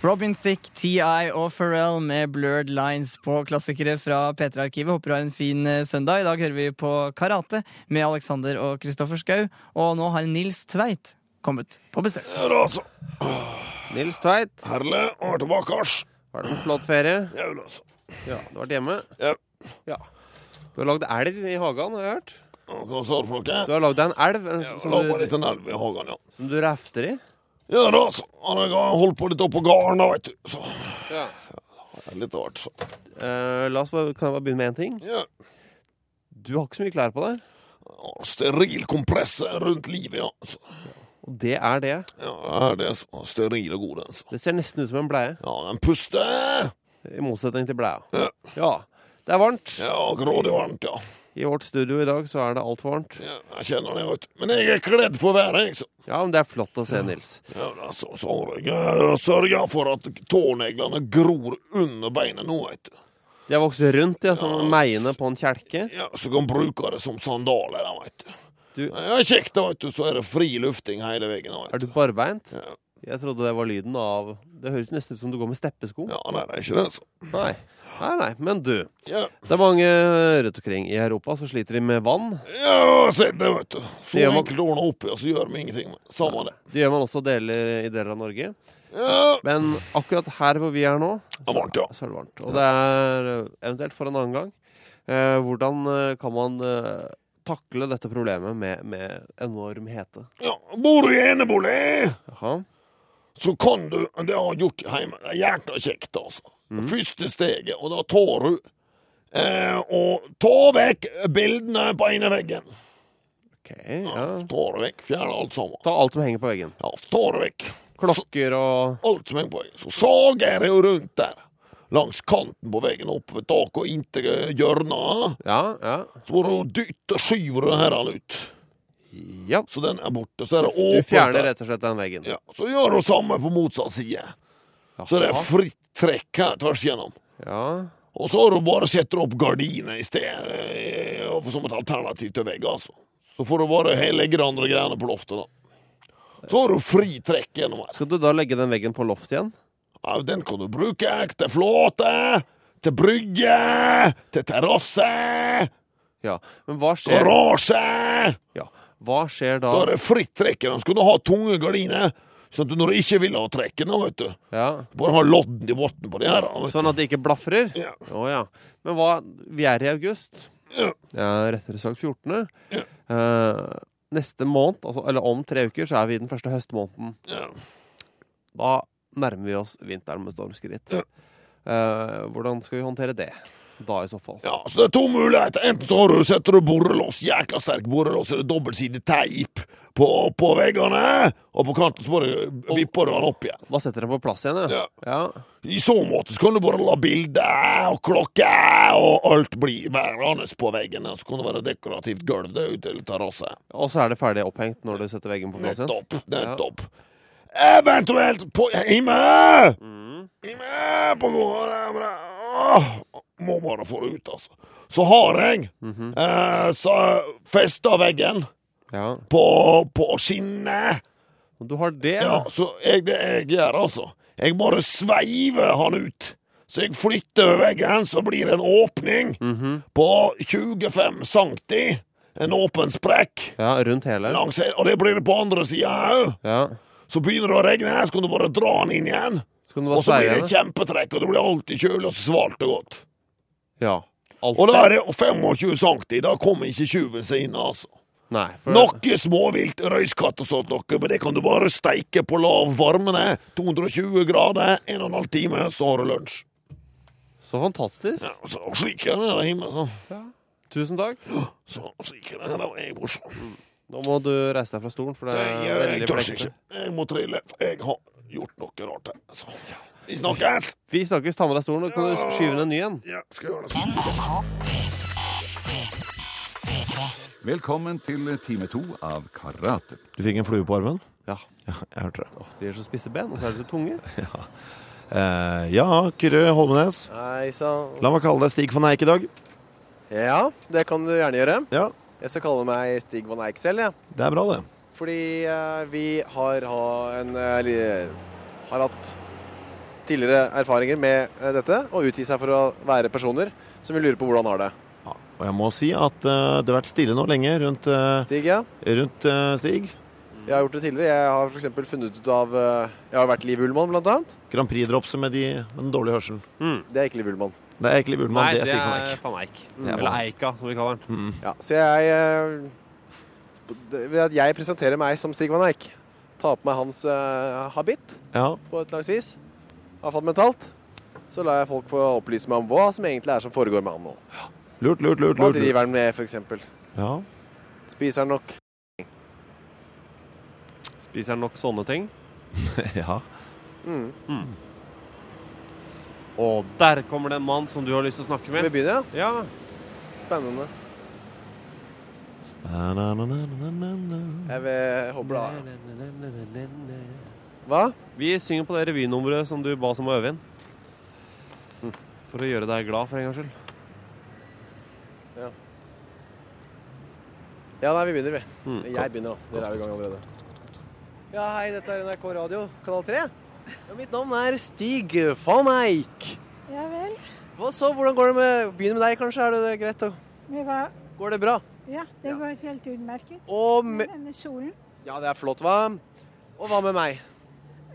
C: Robin Thicke, TI og Pharrell med Blurred Lines på klassikere fra P3-arkivet. Håper du har en fin eh, søndag. I dag hører vi på karate med Alexander og Kristoffer Schau. Og nå har Nils Tveit kommet på besøk.
F: Nils Tveit,
D: Herlig å være tilbake, Ars.
F: har du en flott ferie?
D: Jævlig, altså.
F: Ja, Du har vært hjemme?
D: Ja.
F: ja. Du har lagd elv i hagen, har jeg hørt.
D: Hva sa du for noe?
F: Du har lagd deg en elv eller, som, du,
D: en elv i hagen, ja.
F: som du refter i.
D: Ja da, så har jeg holdt på litt oppå gården, da, veit du. Så
F: Ja.
D: det er litt av hvert, så.
F: Eh, la oss bare, kan jeg bare begynne med én ting?
D: Ja.
F: Du har ikke så mye klær på deg.
D: Steril kompresse rundt livet, ja. Så,
F: Og det er det.
D: ja, det er det. Så. Steril og god, den. så.
F: Det ser nesten ut som en bleie.
D: Ja, den puster.
F: I motsetning til bleia. Ja. Det er varmt.
D: Ja, grådig varmt, ja.
F: I vårt studio i dag så er det altfor varmt.
D: Ja, jeg kjenner det, vet du. Men jeg er kledd for været, jeg. Så,
F: Ja, men det er flott å se, Nils.
D: ja, da, så, så har jeg eh, sørget for at tåneglene gror under beinet nå, vet du.
F: De har vokst rundt, ja, som meiene på en kjelke.
D: Ja, så kan bruke det som sandaler, da, vet du.
F: Du,
D: Ja, det er kjekt, da, vet du. Så er det fri lufting hele veien, da,
F: er
D: vet du.
F: du barbeint?
D: Ja.
F: Jeg trodde det var lyden av Det høres nesten ut som du går med steppesko.
D: Ja, nei, det er ikke det, så.
F: Nei. nei, nei, men du.
D: Ja,
F: Det er mange eh, rundt omkring i Europa som sliter de med vann.
D: ja se det, vet du. Så
F: Det gjør man-
D: enkelt ordnet opp, ja, så gjør vi ingenting. men Samme det.
F: Det gjør man også deler i deler av Norge.
D: Ja,
F: Men akkurat her hvor vi er nå,
D: det er varmt, ja.
F: så er det varmt. Og det er eh, eventuelt for en annen gang. Eh, hvordan eh, kan man eh, takle dette problemet med, med enorm hete?
D: ja. Bor du i enebolig?
F: Jaha.
D: så
F: Mm.
D: kan du Det har jeg gjort hjemme. Det er jækla kjekt, altså. Første steget, og da tar du
K: eh, og ta vekk bildene på ene veggen.
F: Ok, ja.
K: Ta det vekk, fjern alt sammen.
F: Ta alt som henger på veggen.
K: Ja, ta det vekk.
F: Klokker og
K: Alt som henger på veggen. Så sager jeg jo rundt der. Langs kanten på veggen, opp ved taket og inntil hjørnet.
F: Ja, ja.
K: Så må du dytte og skyve den her ut.
F: Ja.
K: Så den er borte. Så er det
F: Du
K: åpent.
F: fjerner
K: der.
F: rett og slett den veggen.
K: Ja, så gjør du samme på motsatt side. Så det er fritt trekk her tvers igjennom.
F: Ja.
K: Og så har du bare setter opp gardiner i stedet, eh, og som et alternativ til vegg, altså. Så får du bare he- legge de andre greiene på loftet, da. Så har du fri trekk gjennom her.
F: Skal du da legge den veggen på loftet igjen?
K: Ja, den kan du bruke til flåte, til brygge, til terrasse,
F: Ja. Men hva skjer
K: garasje.
F: ja. Hva skjer da?
K: Da er det fritt trekk i den. Skal du ha tunge gardiner, sånn at du når du ikke vil ha trekkene, vet du,
F: Ja.
K: bare ha lodden i bunnen på det her. da, vet du.
F: Sånn at det ikke blafrer?
K: Ja.
F: Å ja. Men hva Vi er i august.
K: Ja.
F: Ja, rettere sagt 14. Eh, neste måned, altså, eller om tre uker, så er vi i den første høstmåneden.
K: Ja.
F: Da nærmer vi oss vinteren med stormskritt.
K: Ja.
F: Eh, hvordan skal vi håndtere det? Da, i så fall.
K: Ja, så det er to muligheter. Enten så har du, setter du borrelås, jækla sterk borrelås, eller dobbeltsidig teip på, på veggene, og på kanten så bare vipper du den opp igjen.
F: Da setter den på plass igjen, ja. ja.
K: I så måte så kan du bare la bilder og klokker og alt bli værende på veggene, så kan det være dekorativt gulv der ute eller terrasse.
F: Og så er det ferdig opphengt når du setter veggen på plass igjen?
K: Nettopp, nettopp. Eventuelt på hjemme! Hjemme på gården der, men, åh, Må bare få det ut, altså. Så har jeg eh, så festa veggen
F: Ja.
K: på, på skinnet.
F: Og Du har det?
K: Ja, så jeg, det jeg gjør, altså. Jeg bare sveiver han ut. Så jeg flytter over veggen, så blir det en åpning på 25 cm. En åpen sprekk.
F: Ja, rundt hele?
K: Langs, og det blir det på andre sida òg.
F: Ja.
K: Så begynner det å regne, så kan du bare dra den inn igjen.
F: Så kan du
K: Og
F: bare
K: så blir
F: sveie
K: det
F: henne?
K: kjempetrekk, og det blir alltid kjølig og så svalt og godt.
F: Ja.
K: Og da
F: Alltid?
K: er det 25 cm, da kommer ikke tjuven seg inn, altså.
F: Nei. For
K: Noe småvilt, røyskatt og sånt noe, men det kan du bare steike på lav varme. det. 220 grader, 1 12 time, så har du lunsj.
F: Så fantastisk.
K: Ja, Så slik er det der hjemme, så.
F: Tusen takk.
K: så slik er det der jeg bor. så.
F: Nå må du reise deg fra stolen, for det
K: Jeg,
F: er
K: jeg, jeg
F: veldig
K: tør
F: flekkete.
K: ikke. Jeg må trille, for jeg har gjort noe rart her. Så. Vi snakkes!
F: Vi snakkes. Ta med deg stolen, og kan du skyve ned en ny en?
K: Ja, skal gjøre det. sånn?
L: Velkommen til time to av karate.
D: Du fikk en flue på armen?
F: Ja.
D: Ja, jeg hørte det.
F: De er så spisse ben, og så er de så tunge.
D: Eh, ja, Kyrre Holmenes.
E: Nei, så
D: La meg kalle deg Stig van Eijk i dag.
E: Ja, det kan du gjerne gjøre.
D: Ja,
E: Jeg skal kalle meg Stig van Eijk selv, jeg.
D: det er bra, det.
E: Fordi eh, vi har, ha en, eh, li- har hatt tidligere erfaringer med eh, dette, og utgi seg for å være personer som vil lure på hvordan har det.
D: Og jeg må si at eh, det har vært stille nå lenge rundt, eh,
E: Stig, ja.
D: rundt eh, Stig.
E: Jeg har gjort det tidligere. Jeg har f.eks. funnet ut av eh, Jeg har vært Liv Ullmann, blant annet.
D: Grand Prix-dropset med, de, med den dårlige hørselen.
E: Det er ikke Liv Ullmann.
D: Det er egentlig Ullmann,
F: Nei,
D: det er Stig Mm. van Eijk.
F: van Eijk.
D: er
F: Mm. Eller
D: van
F: Eika, som vi kaller den.
E: Ja, så jeg eh, det- Ved at jeg presenterer meg som Stig van Eijk, tar på meg hans eh, habit
D: Ja,
E: på et langs vis, iallfall mentalt, så lar jeg folk få opplyse meg om hva som egentlig er som foregår med han nå.
D: lurt, lurt, lurt.
E: Hva
D: lurt, lurt.
E: driver han med, f.eks.?
D: Ja. [LAUGHS]
E: Spiser han nok?
F: Spiser nok sånne ting.
D: ja.
E: Mm.
F: Og der kommer det en mann som du har lyst til å snakke
E: Skal vi
F: med.
E: begynne? ja?
F: Ja.
E: Spennende.
D: Na-na-na-na-na-na.
E: Jeg vil, håper det. Hva?
F: Vi synger på det revynummeret som du ba oss om å øve inn.
D: Mm.
F: For å gjøre deg glad, for en gangs skyld.
E: Ja, nei, vi begynner, vi.
F: Mm.
E: Jeg begynner, da. Dere er i gang allerede. Ja, hei, dette er NRK Radio, kanal 3. Ja, mitt navn er Stig van Eijk.
M: Ja vel.
E: Hva så, hvordan går det med Begynne med deg, kanskje? Er det det greit? å-
M: Vi var,
E: Går det bra?
M: ja, det går helt utmerket.
E: Og
M: Med
E: med
M: denne solen.
E: Ja, det er flott, hva? Og hva med meg?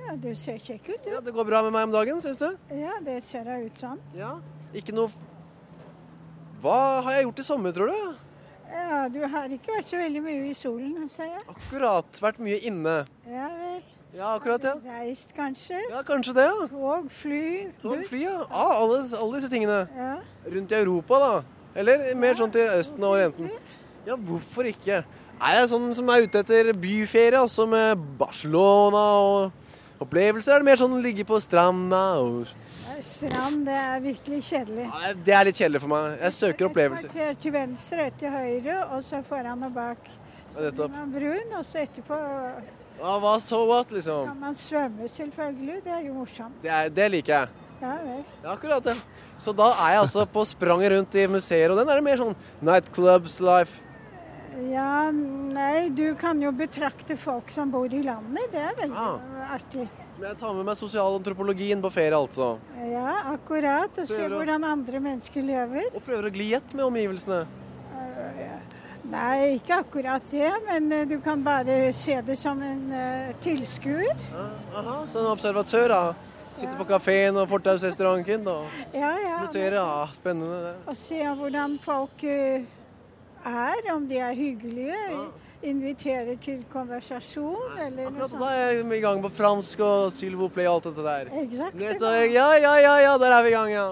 M: Ja, du ser kjekk ut,
E: Ja,
M: du.
E: det går bra med meg om dagen, syns du?
M: Ja, det ser da ut som.
E: Ja. Ikke noe f- Hva har jeg gjort i sommer, tror du?
M: Ja, du har ikke vært så veldig mye i solen, ser jeg.
E: Akkurat vært mye inne.
M: Ja vel. Altså,
E: Ja, akkurat, ja.
M: Reist, kanskje.
E: Ja, kanskje det, ja.
M: Tog, fly.
E: Tog,
M: buss.
E: fly, ja. Ah, alle, alle disse tingene.
M: Ja.
E: Rundt i Europa, da. Eller mer sånn til Østen og Orienten. Ja, hvorfor ikke? Er jeg sånn som er ute etter byferie, altså med Barcelona og opplevelser? Er det mer sånn ligge på stranda og
M: Strand, det er virkelig kjedelig.
E: Nei, Det er litt kjedelig for meg. Jeg søker opplevelser.
M: Kvarter til venstre, et til høyre, og så foran og bak. Så
E: Ja, nettopp.
M: blir man brun, og så etterpå
E: Ah, hva så what, liksom?
M: kan man svømme, selvfølgelig. Det er jo morsomt.
E: Det, er, det liker jeg.
M: Ja vel.
E: Ja, akkurat det. Så da er jeg altså på spranget rundt i museer, og den er det mer sånn nightclubs life.
M: Ja, nei, du kan jo betrakte folk som bor i landet. Det er veldig artig.
E: Som jeg tar med meg sosialantropologien på ferie, altså.
M: Ja, akkurat. Og se
E: Prøver å-
M: hvordan andre mennesker lever.
E: Og prøver å gli i ett med omgivelsene.
M: Nei, ikke akkurat det, men eh, du kan bare se det som en eh, tilskuer.
E: Aha, så en observatør, da. Sitter på kafeen og fortausrestauranten og
M: Ja, ja.
E: noterer. Ja, spennende. det.
M: Og se hvordan folk eh, er, om de er hyggelige. Inviterer til konversasjon eller noe
E: Da
M: sånt.
E: er jeg i gang på fransk og Sylvo Play og alt dette der.
M: Exakt.
E: Nett og jeg, ja, ja, ja, ja, der er vi i gang, ja.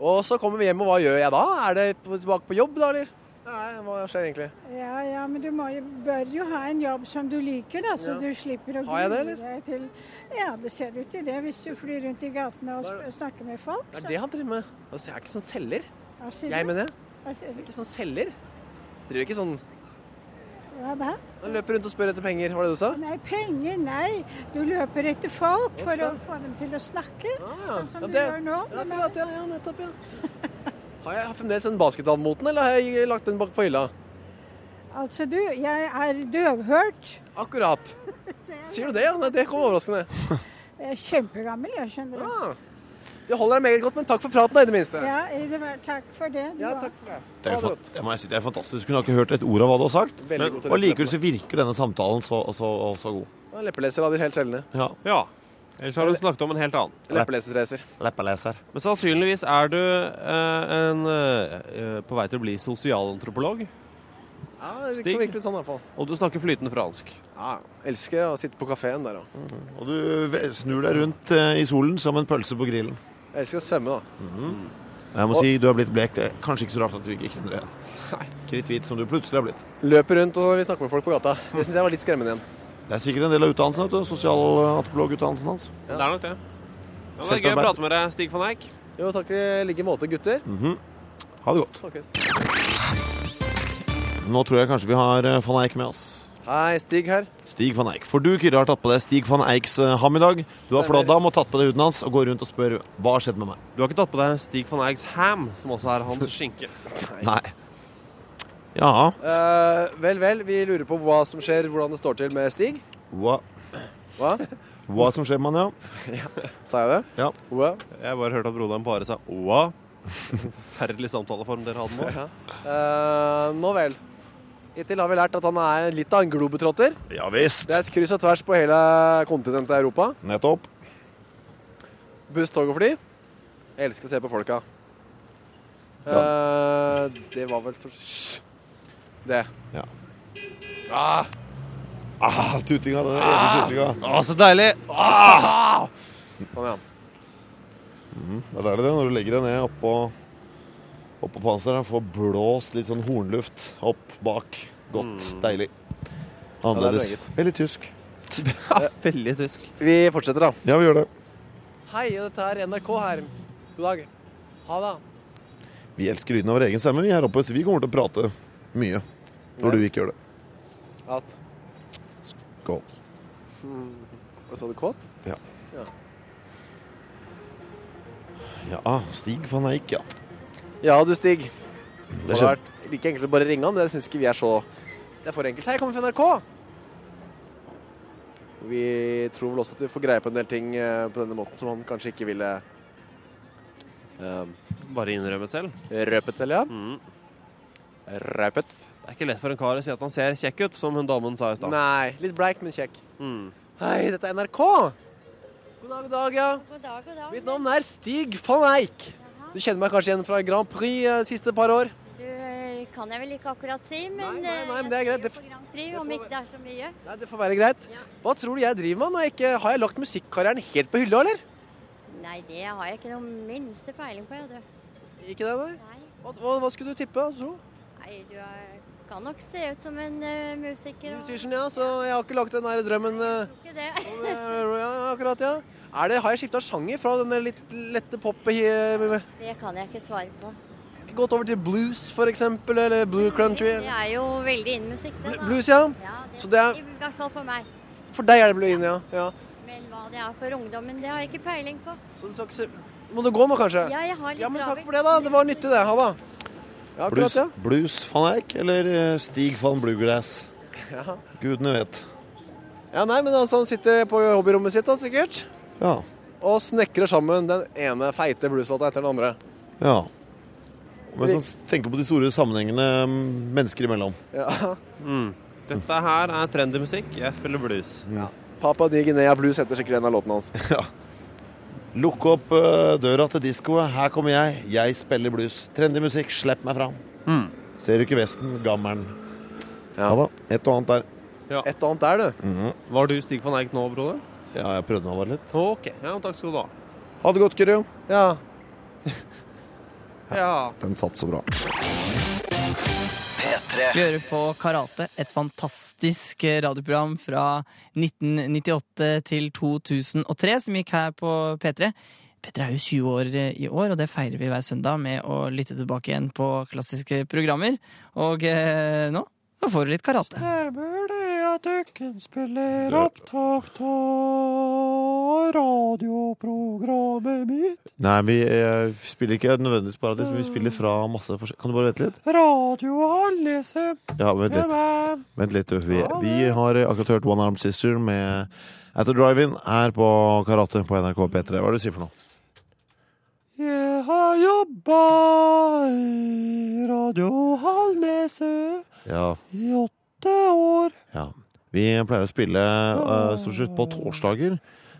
E: Og så kommer vi hjem, og hva gjør jeg da? Er det på- tilbake på jobb da, eller? Nei, hva skjer egentlig?
M: Ja, ja, men du må, jo- bør jo ha en jobb som du liker, da, så
E: Ja.
M: du slipper å
E: Har jeg det, eller?
M: deg til Ja, det ser ut til det hvis du flyr rundt i gatene og sp snakker med folk.
E: Det er det han driver med. Altså, jeg er ikke sånn selger.
M: Hva sier du?
E: Jeg mener det.
M: Hva sier du?
E: Ikke sånn selger. Driver ikke sånn
M: Hva da?
E: Han løper rundt og spør etter penger, var det du sa?
M: Nei, penger, nei. Du løper etter folk for å få dem til å snakke, sånn som
E: Ja,
M: du
E: det-
M: gjør nå.
E: Ja, akkurat, ja, ja, nettopp, ja. Har jeg har jeg fremdeles den basketballmoten, eller har jeg lagt den bak på hylla?
M: Altså, du, jeg er døvhørt. [LAUGHS]
E: Akkurat. Sier du det, ja? Nei, det kom overraskende.
M: Jeg er kjempegammel, jeg skjønner det.
E: Ja. Du Ah. holder deg meget godt, men takk for praten, da, i det minste.
M: Ja, i det var, takk for det. du
E: Ja,
M: var-
E: takk for det.
D: Det er, jo fant- det må jeg si, det er fantastisk. Hun har ikke hørt et ord av hva du har sagt.
E: Veldig
D: Men,
E: god til å
D: og likevel så virker denne samtalen så, så, så god.
E: Det var Leppeleser av de helt sjeldne.
D: Ja.
F: Ellers har du snakket om en helt annen.
E: Leppeleserreiser.
D: Leppeleser.
F: Men sannsynligvis er du eh, en, eh, på vei til å bli sosialantropolog,
E: Ja, det
F: Stig?
E: kan virke litt sånn i hvert fall.
F: og du snakker flytende fransk.
E: Ja, elsker å sitte på kafeen der òg.
D: Og du ve- snur deg rundt eh, i solen som en pølse på grillen.
E: Elsker å svømme, da.
D: Jeg må
E: Og-
D: si du har blitt blek. Det er kanskje ikke så rart at du ikke kjenner det igjen. Kritthvit som du plutselig har blitt.
E: Løper rundt og vil snakke med folk på gata. Det syns jeg var litt skremmende igjen.
D: Det er sikkert en del av utdannelsen, vet du. Sosialantropologutdannelsen hans.
F: Det er nok det. Ja, det er gøy å prate med deg, Stig van Eijk.
E: Jo, takk i like måte, gutter.
D: Mhm. Ha det godt.
E: Snakkes.
D: Nå tror jeg kanskje vi har eh, van Eijk med oss.
E: Hei, Stig her.
D: Stig van Eijk. For du, Kyrre, har tatt på deg Stig van Eiks eh, ham i dag. Du har
F: Stemmer.
D: flådd ham og tatt på deg huden hans og går rundt og spør hva har skjedd med meg.
F: Du har ikke tatt på deg Stig van Eiks ham, som også er [LAUGHS] hans skinke.
D: Nei. Ja.
E: Eh, vel, vel, vi lurer på hva som skjer, hvordan det står til med Stig.
D: Hva,
E: Hva?
D: hva som skjer med han, ja.
E: Sa jeg det?
D: Ja.
E: Hva?
F: Jeg bare hørte at broderen bare sa oa. Forferdelig samtaleform dere hadde nå.
E: Eh, nå vel. Hittil har vi lært at han er litt av en globetrotter.
D: Ja visst.
E: Det er kryss og tvers på hele kontinentet Europa.
D: Nettopp.
E: Buss, tog og fly. Jeg elsker å se på folka. Eh, det var vel så Hysj. Det.
D: Ja.
E: Ah.
D: Ah, tutinga. Den evige tutinga.
F: Å, så deilig!
E: Ah! Sånn, ja.
D: Mm, der er det det, når du legger deg ned oppå, oppå panseret og får blåst litt sånn hornluft opp bak. Godt, deilig.
E: det Mm. er
D: Annerledes. Veldig tysk.
F: Eh, Veldig tysk.
E: Vi fortsetter, da.
D: Ja, vi gjør det.
E: Hei, dette er NRK her. God dag. Ha det.
D: Vi elsker lyden av vår egen stemme, vi her oppe, så vi kommer til å prate mye når du ikke gjør det.
E: At
D: Skål.
E: hmm, Hva sa du, kåt?
D: Ja.
E: Ja.
D: ja ah, Stig van Eijk, ja.
E: Ja, du Stig. Det hadde
D: skjønner.
E: vært like enkelt å bare ringe han, men jeg syns ikke vi er så Det er for enkelt. Hei, jeg kommer fra NRK! Vi tror vel også at vi får greie på en del ting eh, på denne måten som han kanskje ikke ville eh,
F: Bare innrømmet selv.
E: røpet selv, ja. Røpet.
F: Det er ikke lett for en kar å si at han ser kjekk ut, som hun damen sa i stad.
E: Nei. Litt bleik, men kjekk.
F: Mm.
E: Hei, dette er NRK! God dag, god dag, ja.
N: God dag, god dag.
E: Mitt navn er Stig van Eijk. Du kjenner meg kanskje igjen fra Grand Prix eh, siste par år?
N: Du, eh, kan jeg vel ikke akkurat si, men
E: Nei, nei, nei,
N: eh,
E: men det
N: jeg
E: er
N: spiller jo
E: greit. Det f-
N: på Grand Prix, om ikke det er så mye.
E: Nei, det får være greit. Hva tror du jeg driver med? når jeg ikke, har jeg lagt musikkarrieren helt på hylla, eller?
N: Nei, det har jeg ikke noen minste peiling på, jeg, du.
E: Ikke det, nei? Hva, hva, hva skulle du tippe? altså? Tro?
N: Nei, du er, kan nok se ut som en eh, musiker. og-
E: Musician, ja, så jeg har ikke lagt den der drømmen eh,
N: Ikke det. [LAUGHS]
E: om, eh, ja, akkurat, ja. Er det, har jeg skifta sjanger fra den litt lette pop eh,
N: Det kan jeg ikke svare på.
E: Gått over til blues, for eksempel, eller blue country?
N: Det er jo veldig innen musikk, det. da.
E: Blues, ja.
N: det,
E: Så det er,
N: I hvert fall for meg.
E: for deg er det blue in, ja. ja.
N: Men hva det er for ungdommen, det har jeg ikke peiling på.
E: Så du skal ikke se Må du gå nå, kanskje?
N: Ja, jeg har litt
E: Ja, men takk
N: travelt.
E: for det, da. Det var nyttig, det. Ha det. Ja, akkurat,
D: Blues,
E: ja.
D: blues van Eyck eller eh, Stig van Bluegrass?
E: Ja.
D: Gudene vet.
E: Ja, nei, men altså, han sitter på hobbyrommet sitt, da, sikkert.
D: Ja.
E: Og snekrer sammen den ene feite blueslåta etter den andre.
D: ja. Men så tenker på de store sammenhengene mm, mennesker imellom.
E: Ja.
F: Mm. Dette her er trendy musikk. Jeg spiller blues.
E: [LAUGHS] Papa Di Guinea Blues heter sikkert en av låtene hans.
D: Ja. Lukk opp eh, døra til diskoet. Her kommer jeg. Jeg spiller blues. Trendy musikk. Slipp meg fram.
F: Mm.
D: Ser du ikke vesten? Gammelen. Ja. da. Et og annet der.
F: Ja.
E: Et og annet der, du.
F: Var du Stig van Eijk nå, broder?
D: Ja, jeg prøvde meg bare litt.
F: Ok. Ja, takk skal du ha.
D: Ha det godt, Kyrre.
E: Ja.
F: ja.
D: Den satt så bra.
C: Vi hører på Karate, et fantastisk eh, radioprogram fra 1998 til 2003, som gikk her på P3. P3 er jo 20 år eh, i år, og det feirer vi hver søndag med å lytte tilbake igjen på klassiske programmer. Og eh, nå, nå får du litt karate.
O: Stemmer det at Økken spiller opptak av radioprogrammet mitt?
D: Nei, vi eh, spiller ikke nødvendigvis paradis, men vi spiller fra masse forskjellige Kan du bare vente litt?
O: Radio Hallise.
D: Ja, vent litt.
O: Ja, men-
D: Vent litt, du. Vi, vi har akkurat hørt One Arm Sister med At the Drive-In her på Karate på NRK P3. Hva er det du sier for noe?
O: Jeg har jobba i Radio Hallise
D: Ja.
O: i åtte år.
D: ja. Vi pleier å spille eh, stort sett på torsdager.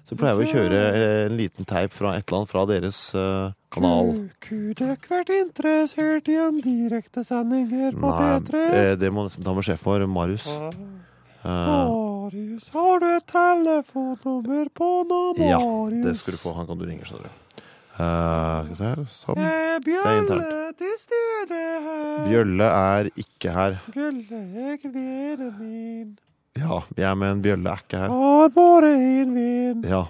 D: Så pleier vi å kjøre eh, en liten teip fra et eller annet fra deres eh, kanal.
O: Kudøk vært interessert i en direktesending her Mm. på
D: Nei,
O: P3.
D: eh, det må nesten ta med sjef for, Marius.
O: Ja.
D: Eh,
O: Marius, har du et telefonnummer på nå,
D: ja,
O: Marius?
D: det skal du få. Han kan du ringe, skjønner du. Eh, skal vi se her Sam.
O: Er
D: Det er internt.
O: Bjølle til stede her?
D: Bjølle er ikke her.
O: Bjølle er kvinnen min.
D: Ja, jeg med en bjølle er ikke her.
O: Har vært en venn.
D: Ja.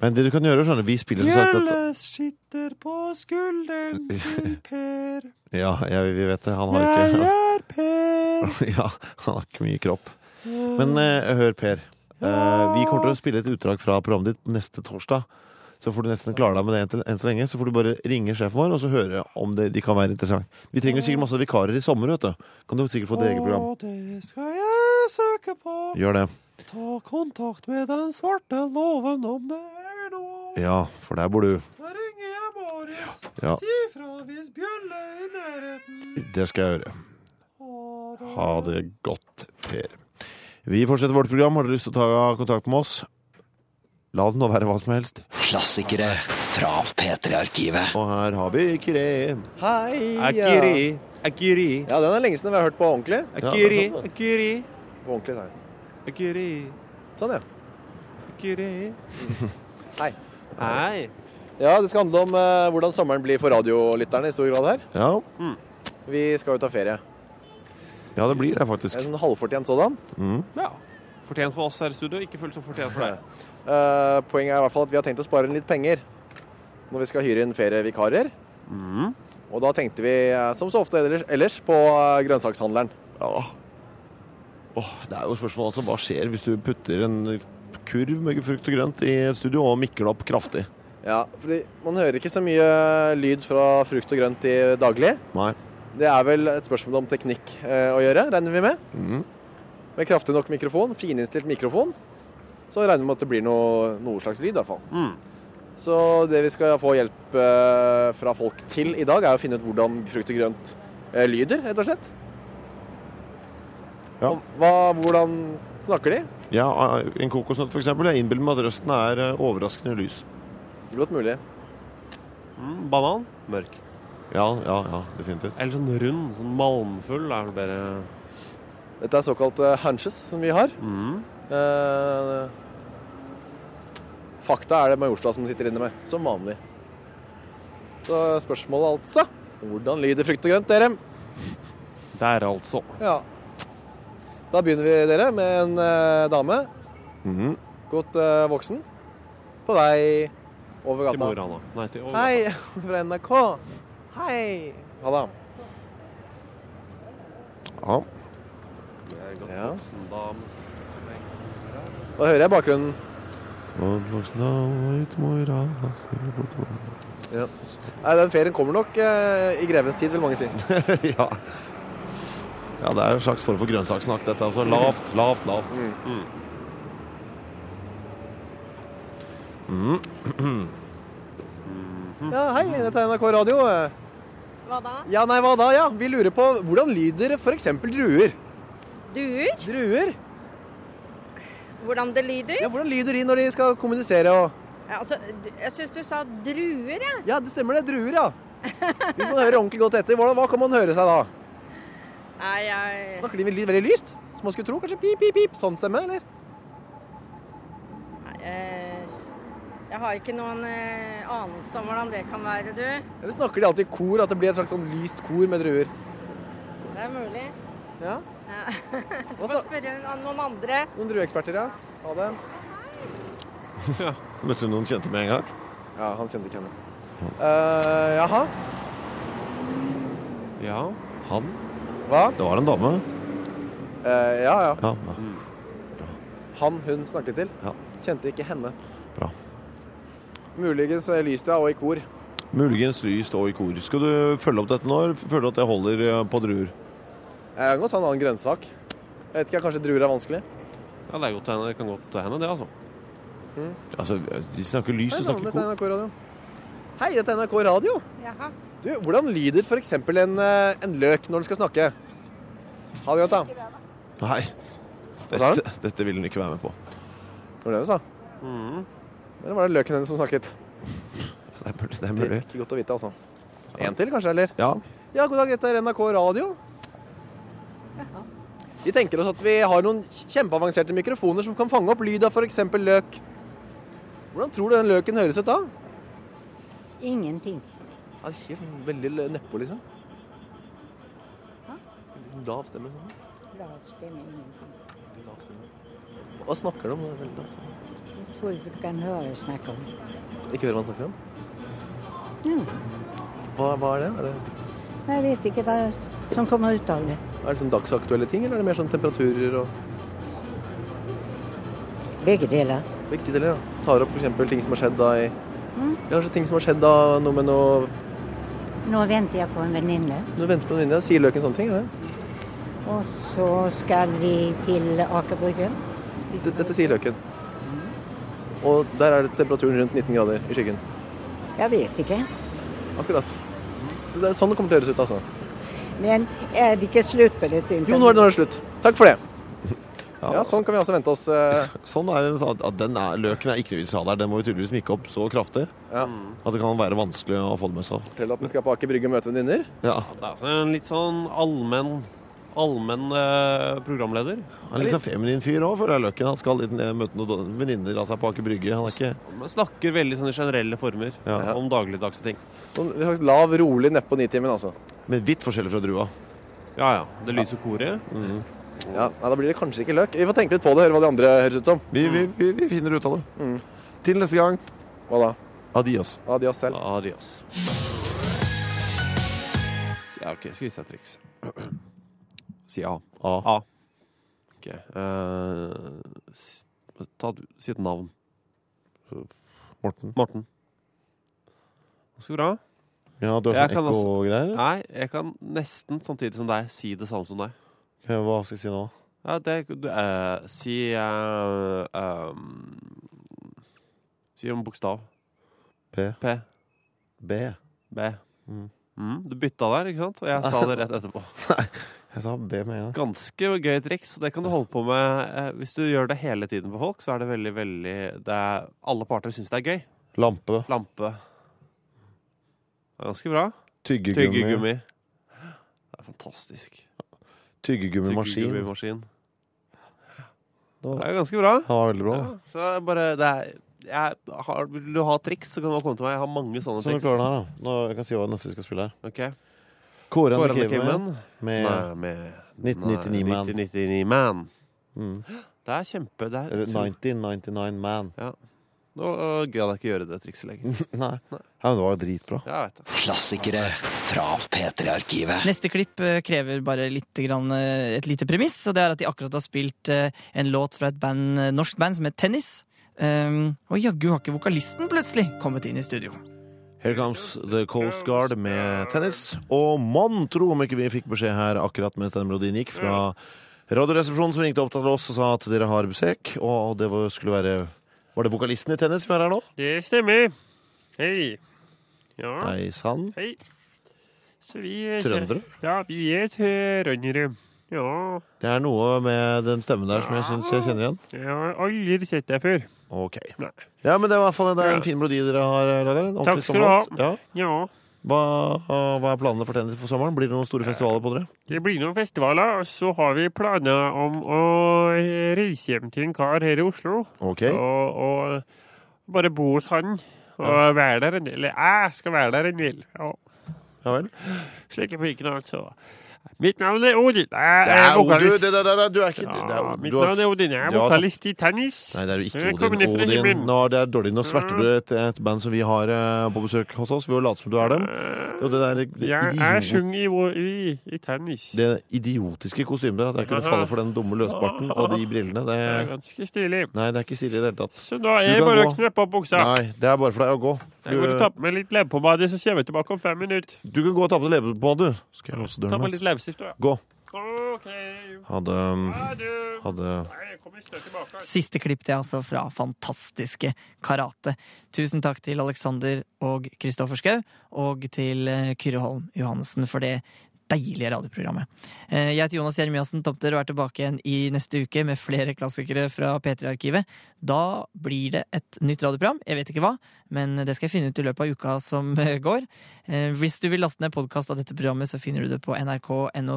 D: Men det du kan gjøre, skjønner du, vi spiller som sagt
O: Bjølle
D: dette
O: sitter på skulderen
D: [LAUGHS]
O: til Per.
D: Ja, jeg, vi vet det. Han har
O: Jeg
D: ikke
O: er Per.
D: [LAUGHS] Ja, han har ikke mye kropp. Men eh, hør, Per. Eh, vi kommer til å spille et utdrag fra programmet ditt neste torsdag. Så får du nesten klare deg med det enn, enn så lenge. Så får du bare ringe sjefen vår og så høre om det, de kan være interessant. Vi trenger sikkert masse vikarer i sommer, vet du. Kan du sikkert få ditt eget program.
O: Og det skal jeg søke på.
D: Gjør det.
O: Ta kontakt med den svarte låven om det er noe.
D: Ja, for der bor du.
O: Da ringer jeg Marius.
D: Ja.
O: Si fra hvis Bjølle er i nærheten.
D: Det skal jeg gjøre. Ha det godt, Per. Vi fortsetter vårt program. Har du lyst til å ta kontakt med oss? La det nå være hva som helst.
P: Klassikere fra P3-arkivet.
D: Og her har vi Kyrre.
E: Hei!
F: Akiri, Akiri.
E: Ja, den er lenge siden vi har hørt på ordentlig.
F: Akiri,
D: sånn.
E: Ja, det er sant, det.
F: Akiri,
E: På ordentlig, sa jeg.
F: Akiri,
E: Sånn, ja.
F: Akiri.
E: Hei.
F: Hei.
E: Ja, det skal handle om eh, hvordan sommeren blir for radiolytterne i stor grad her.
D: Ja.
E: Vi skal jo ta ferie.
D: ja, det blir det faktisk.
E: En sånn halvfortjent sådan.
D: Mm.
F: Ja. Fortjent for oss her i studio, ikke fullt så fortjent for
E: [LAUGHS]
F: deg.
E: Eh, poenget er i hvert fall at vi har tenkt å spare inn litt penger når vi skal hyre inn ferievikarer. Og da tenkte vi, eh, som så ofte ellers, ellers på eh, grønnsakshandleren.
D: Åh, det er jo spørsmålet altså, hva skjer hvis du putter en kurv med frukt og grønt i et studio og mikker det opp kraftig?
E: Ja, fordi man hører ikke så mye eh, lyd fra frukt og grønt i daglig.
D: Nei.
E: Det er vel et spørsmål om teknikk eh, å gjøre, regner vi med.
D: Mm.
E: Med kraftig nok mikrofon, fininnstilt mikrofon, så regner vi med at det blir noe, noe slags lyd i hvert fall. Så det vi skal få hjelp eh, fra folk til i dag, er å finne ut hvordan frukt og grønt eh, lyder, rett og slett.
D: Ja.
E: Og Hva, hvordan snakker de?
D: Ja, eh, En kokosnøtt, for eksempel. Jeg innbiller meg at røsten er eh, overraskende lys.
E: Godt mulig.
F: Mm, banan, mørk.
D: Ja, ja, ja, definitivt.
F: Eller sånn rund, sånn malmfull er det bedre.
E: Dette er såkalte hunches som vi har.
F: mm.
E: Eh, fakta er det Majorstua som sitter inne med, som vanlig. Så spørsmålet altså Hvordan lyder frukt og grønt, dere?
F: Der altså.
E: Ja. Da begynner vi, dere, med en eh, dame. Godt eh, voksen. På vei over gata.
F: Til Mo i Rana. Nei, til over
E: Hei, [LAUGHS] fra NRK. Hei. Ha det.
D: Ja.
E: Ja. Da hører jeg bakgrunnen. Ja. Nei, den ferien kommer nok eh, i grevens tid, vil mange si.
D: ja. ja, det er jo en slags form for grønnsaksnakk, dette. Altså lavt, lavt, lavt. Mm.
E: Ja, hei, dette er NRK Radio.
Q: Hva da?
E: Ja, nei, hva da? Ja, vi lurer på hvordan lyder f.eks. druer?
Q: Duer?
E: Druer?
Q: Hvordan det lyder?
E: Ja, hvordan lyder de når de skal kommunisere og
Q: Ja, altså, d- jeg syns du sa druer, jeg.
E: Ja, det stemmer det. Druer, ja. Hvis man hører ordentlig godt etter, hvordan, hva kan man høre seg da?
Q: Nei, jeg
E: Snakker de veldig, veldig lyst? Som man skulle tro? Kanskje pip, pip, pip? Sånn stemme, eller?
Q: nei, eh, Jeg har ikke noen eh, anelse om hvordan det kan være, du.
E: Eller snakker de alltid i kor, at det blir et slags sånn lyst kor med druer?
Q: Det er mulig.
E: Ja?
Q: Ja. [LAUGHS] Du får spørre an- noen andre.
E: Noen drueeksperter, ja. Ha det.
D: ja. Møtte du noen kjente med en gang?
E: Ja, han kjente ikke henne. Eh, jaha.
F: Ja, han.
E: Hva?
D: Det var en dame.
E: Eh, ja, ja.
D: Ja, ja.
E: Han hun snakket til.
D: Ja.
E: Kjente ikke henne.
D: Bra.
E: Muligens eh, lyst, ja, og i kor.
D: Muligens lys og i kor. Skal du følge opp dette nå? eller Føler du at det holder eh, på druer?
E: Jeg kan godt ta en annen grønnsak. Jeg vet ikke, Kanskje druer er vanskelig?
F: Ja, det er godt til henne. Det kan godt til henne, det, altså.
D: Altså, de snakker lys
E: Hei,
D: og
E: Sanne,
D: snakker
E: dette er NRK
D: kor.
E: Radio. Hei, dette er NRK Radio.
Q: Jaha.
E: Du, hvordan lyder f.eks. En, eh, en løk når den skal snakke? Ha det godt, da.
D: Nei.
E: sa
D: Dette, dette vil hun ikke være med på.
E: Det var det du sa.
F: Mm.
E: Eller var det løken hennes som snakket?
D: Det er mulig. Det er
E: Det
D: mulig.
E: er ikke godt å vite, altså. En til, kanskje, eller?
D: Ja.
E: Ja, god dag, dette er NRK Radio. Vi tenker oss at vi har noen kjempeavanserte mikrofoner som kan fange opp lyd av f.eks. løk. Hvordan tror du den løken høres ut da?
R: Ingenting.
E: Ja, det er helt sånn veldig l- nedpå, liksom. Veldig sånn Lav stemme. Sånn.
R: Lav stemme, ingenting.
E: Veldig Lav stemme. Hva snakker du om? Det er Veldig lav stemme.
R: Jeg tror ikke du kan høre snakke om.
E: Ikke hører hva han snakker om?
R: Ja.
E: Hva, hva er det? Er det,
R: Jeg vet ikke hva som kommer ut av det.
E: er det sånn dagsaktuelle ting, eller er det mer sånn temperaturer og
R: Begge deler.
E: Begge deler, ja. Tar opp f.eks. ting som har skjedd da i
R: Mm.
E: Ja, Kanskje ting som har skjedd da, noe med noe
R: Nå venter jeg på en venninne,
E: Nå venter på venninna, sier løken sånne ting? Eller?
R: og så skal vi til Aker Brygge.
E: D- Dette sier løken. Og der er det temperaturen rundt 19 grader i skyggen.
R: Jeg vet ikke.
E: Akkurat. Så det er sånn det kommer til å høres ut, altså.
R: Men er det ikke slutt på dette intervjuet?
E: Jo, nå er det, nå er det slutt. Takk for det.
D: Ja,
E: Ja, sånn kan vi altså vente oss. eh,
D: Sånn er det, at at den er, Løken er ikke noe vi sa der. Den må vi tydeligvis mikke opp så kraftig
E: Ja.
D: at det kan være vanskelig å få det med seg.
E: Fortell at den skal på Aker Brygge og møte venninner.
D: Ja.
F: Det er altså en litt sånn allmenn allmenn eh, programleder.
D: Han er litt sånn feminin fyr òg, føler jeg. Løken han skal litt ned, møte noen venninner av seg på Aker Brygge. Han er ikke
F: Men Snakker veldig sånne generelle former om dagligdagse ting.
E: Sånn en slags lav, rolig nedpå nitimen, altså.
D: Men vidt forskjellig fra drua.
F: Ja ja. Det lyser koret.
E: Ja, nei, Da blir det kanskje ikke løk. Vi får tenke litt på det, høre hva de andre høres ut som.
D: Vi, vi, vi, vi finner ut av det.
E: Mm.
D: Til neste gang.
E: Hva da?
D: Adios.
E: Adios selv.
F: Adios. Ja, OK, skal vi se et triks. [CLEARS THROAT] Si A.
D: A.
F: OK. eh, s- ta, du- si et navn.
D: Morten.
F: Morten. Så bra.
D: Ja, du har
F: Jeg
D: sånn
F: kan også-
D: ekko-greier?
F: Nei, jeg kan nesten samtidig som deg si det samme som deg.
D: Ok, Eh, Hva skal jeg si nå?
F: Ja, det du, eh, Si eh, ehm, Si en bokstav.
D: P.
F: P.
D: B.
F: B.
D: Mm.
F: Mm, du bytta der, ikke sant? Og jeg sa det rett [LAUGHS] etterpå.
D: Jeg sa B med en gang.
F: Ganske gøy triks. Det kan du holde på med eh, hvis du gjør det hele tiden på folk. Så er det veldig, veldig det er, Alle parter syns det er gøy.
D: Lampe.
F: Lampe. Det er Ganske bra.
D: Tyggegummi.
F: Tyggegummi. Det er fantastisk.
D: Tyggegummimaskin.
F: Tyggegummimaskin. Det er ganske bra.
D: Ja, veldig bra.
F: Ja, så det er bare det er, jeg har, Vil du ha triks, så kan du bare komme til meg. Jeg har mange sånne
D: Så nå
F: triks.
D: klarer den her, da. Nå, jeg kan si hva neste vi skal spille her.
F: Ok.
D: Kåre
F: Kåre
D: and
F: and
D: the
F: the
D: Caveman
F: Caveman.
D: med,
F: Nei, med-
D: 1999
F: nei,
D: Man.
F: 1999 Man.
D: Mm.
F: Det er kjempe det er,
D: Eller 1999 Man. [LAUGHS]
F: Ja. Nå øh, gadd jeg ikke gjøre det trikset lenger.
D: Nei. Ja, men det var jo dritbra.
F: Jeg vet det.
E: Klassikere fra P3-arkivet.
C: Neste klipp eh, krever bare litt grann, eh, et lite premiss, og det er at de akkurat har spilt eh, en låt fra et band, eh, norsk band som heter Tennis. Um, og jaggu har ikke vokalisten plutselig kommet inn i studio.
D: Here comes The Coast Guard med tennis. Og mann tro om ikke vi fikk beskjed her akkurat mens den melodien gikk, fra Radioresepsjonen som ringte opp til oss og sa at dere har besøk. Og det var, skulle være Var det vokalisten i tennis vi har her nå?
S: Det stemmer. Hei. Ja.
D: Hei sann.
S: Hei. Så vi er
D: Trøndere?
S: Ja, vi er trøndere. Ja.
D: Det er noe med den stemmen der som jeg syns jeg kjenner igjen.
S: Jeg har aldri sett deg før.
D: Ok. Ja, men det er i hvert fall det er en fin melodi dere har eh, laga.
S: Takk skal du ha.
D: Ja.
S: Ja.
D: Hva, hva er planene for tennis for sommeren? Blir det noen store
S: Eh.
D: festivaler på dere?
S: Det blir noen festivaler, og så har vi planer om å reise hjem til en kar her i Oslo.
D: Ok.
S: Og, og bare bo hos han. Og være der en del. Eller jeg skal være der en del. Ja,
D: ja vel.
S: Slikke piken hans og Mitt navn er Odin. Jeg
D: Det er Odin,
S: vokalist.
D: det der, der, der, du er ikke det, det er,
S: Ja, mitt
D: du har-
S: navn er Odin. Jeg er
D: Ja, takk.
S: vokalist i tennis.
D: Nei, det er jo
S: Jeg
D: ikke
S: kommer ned
D: Odin.
S: fra
D: Odin.
S: himmelen. Mm.
D: Nå, det er dårlig. Nå sverter du et, et band som vi har eh, på besøk hos oss, ved å late som du er dem. Og det der det,
S: Eh, Jeg er
D: idiot-
S: sjung i, i, i tennis.
D: det idiotiske kostymet der, at jeg kunne
S: Aha.
D: falle for den dumme løsbarten og de brillene. Det,
S: Det er ganske stilig.
D: nei, det er ikke stilig i det hele tatt.
S: Så da
D: Du
S: er det
D: kan
S: bare
D: gå.
S: å kneppe opp buksa.
D: Nei, det er bare for deg å gå.
S: Jeg går og
D: Du,
S: tapper meg litt leppepomade, så kommer jeg tilbake om fem minutter.
D: du kan gå og ta på deg leppepomade, du. Skal jeg låse
S: Ta
D: døren
S: på litt
D: hans?
S: leppestift, da.
D: Gå.
S: OK.
D: Hadde, hadde
C: Siste klipp det er altså fra fantastiske Karate. Tusen takk til Alexander og Kristoffer Schau, og til eh, Kyrre Holm Johannessen for det deilige radioprogrammet. Eh, Jeg heter Jonas Jeremiassen Tomter og er tilbake igjen i neste uke med flere klassikere fra P3-arkivet. Da blir det et nytt radioprogram, jeg vet ikke hva, men det skal jeg finne ut i løpet av uka som eh, går. Eh, Hvis du vil laste ned podkast av dette programmet, så finner du det på nrk.no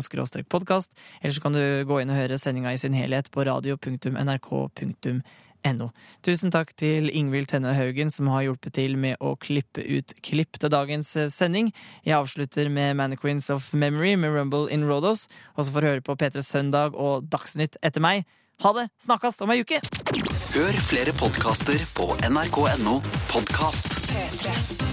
C: podkast, eller så kan du gå inn og høre sendinga i sin helhet på radio.nrk.no. Tusen takk til Ingvild Tenne Haugen, som har hjulpet til med å klippe ut klipp til dagens eh, sending. Jeg avslutter med Mannequins of Memory med Rumble in Rodos, og så får du høre på P3 Søndag og Dagsnytt etter meg. Ha det! Snakkes om ei uke!
E: Hør flere podkaster på nrk.no podkast.
T: P3.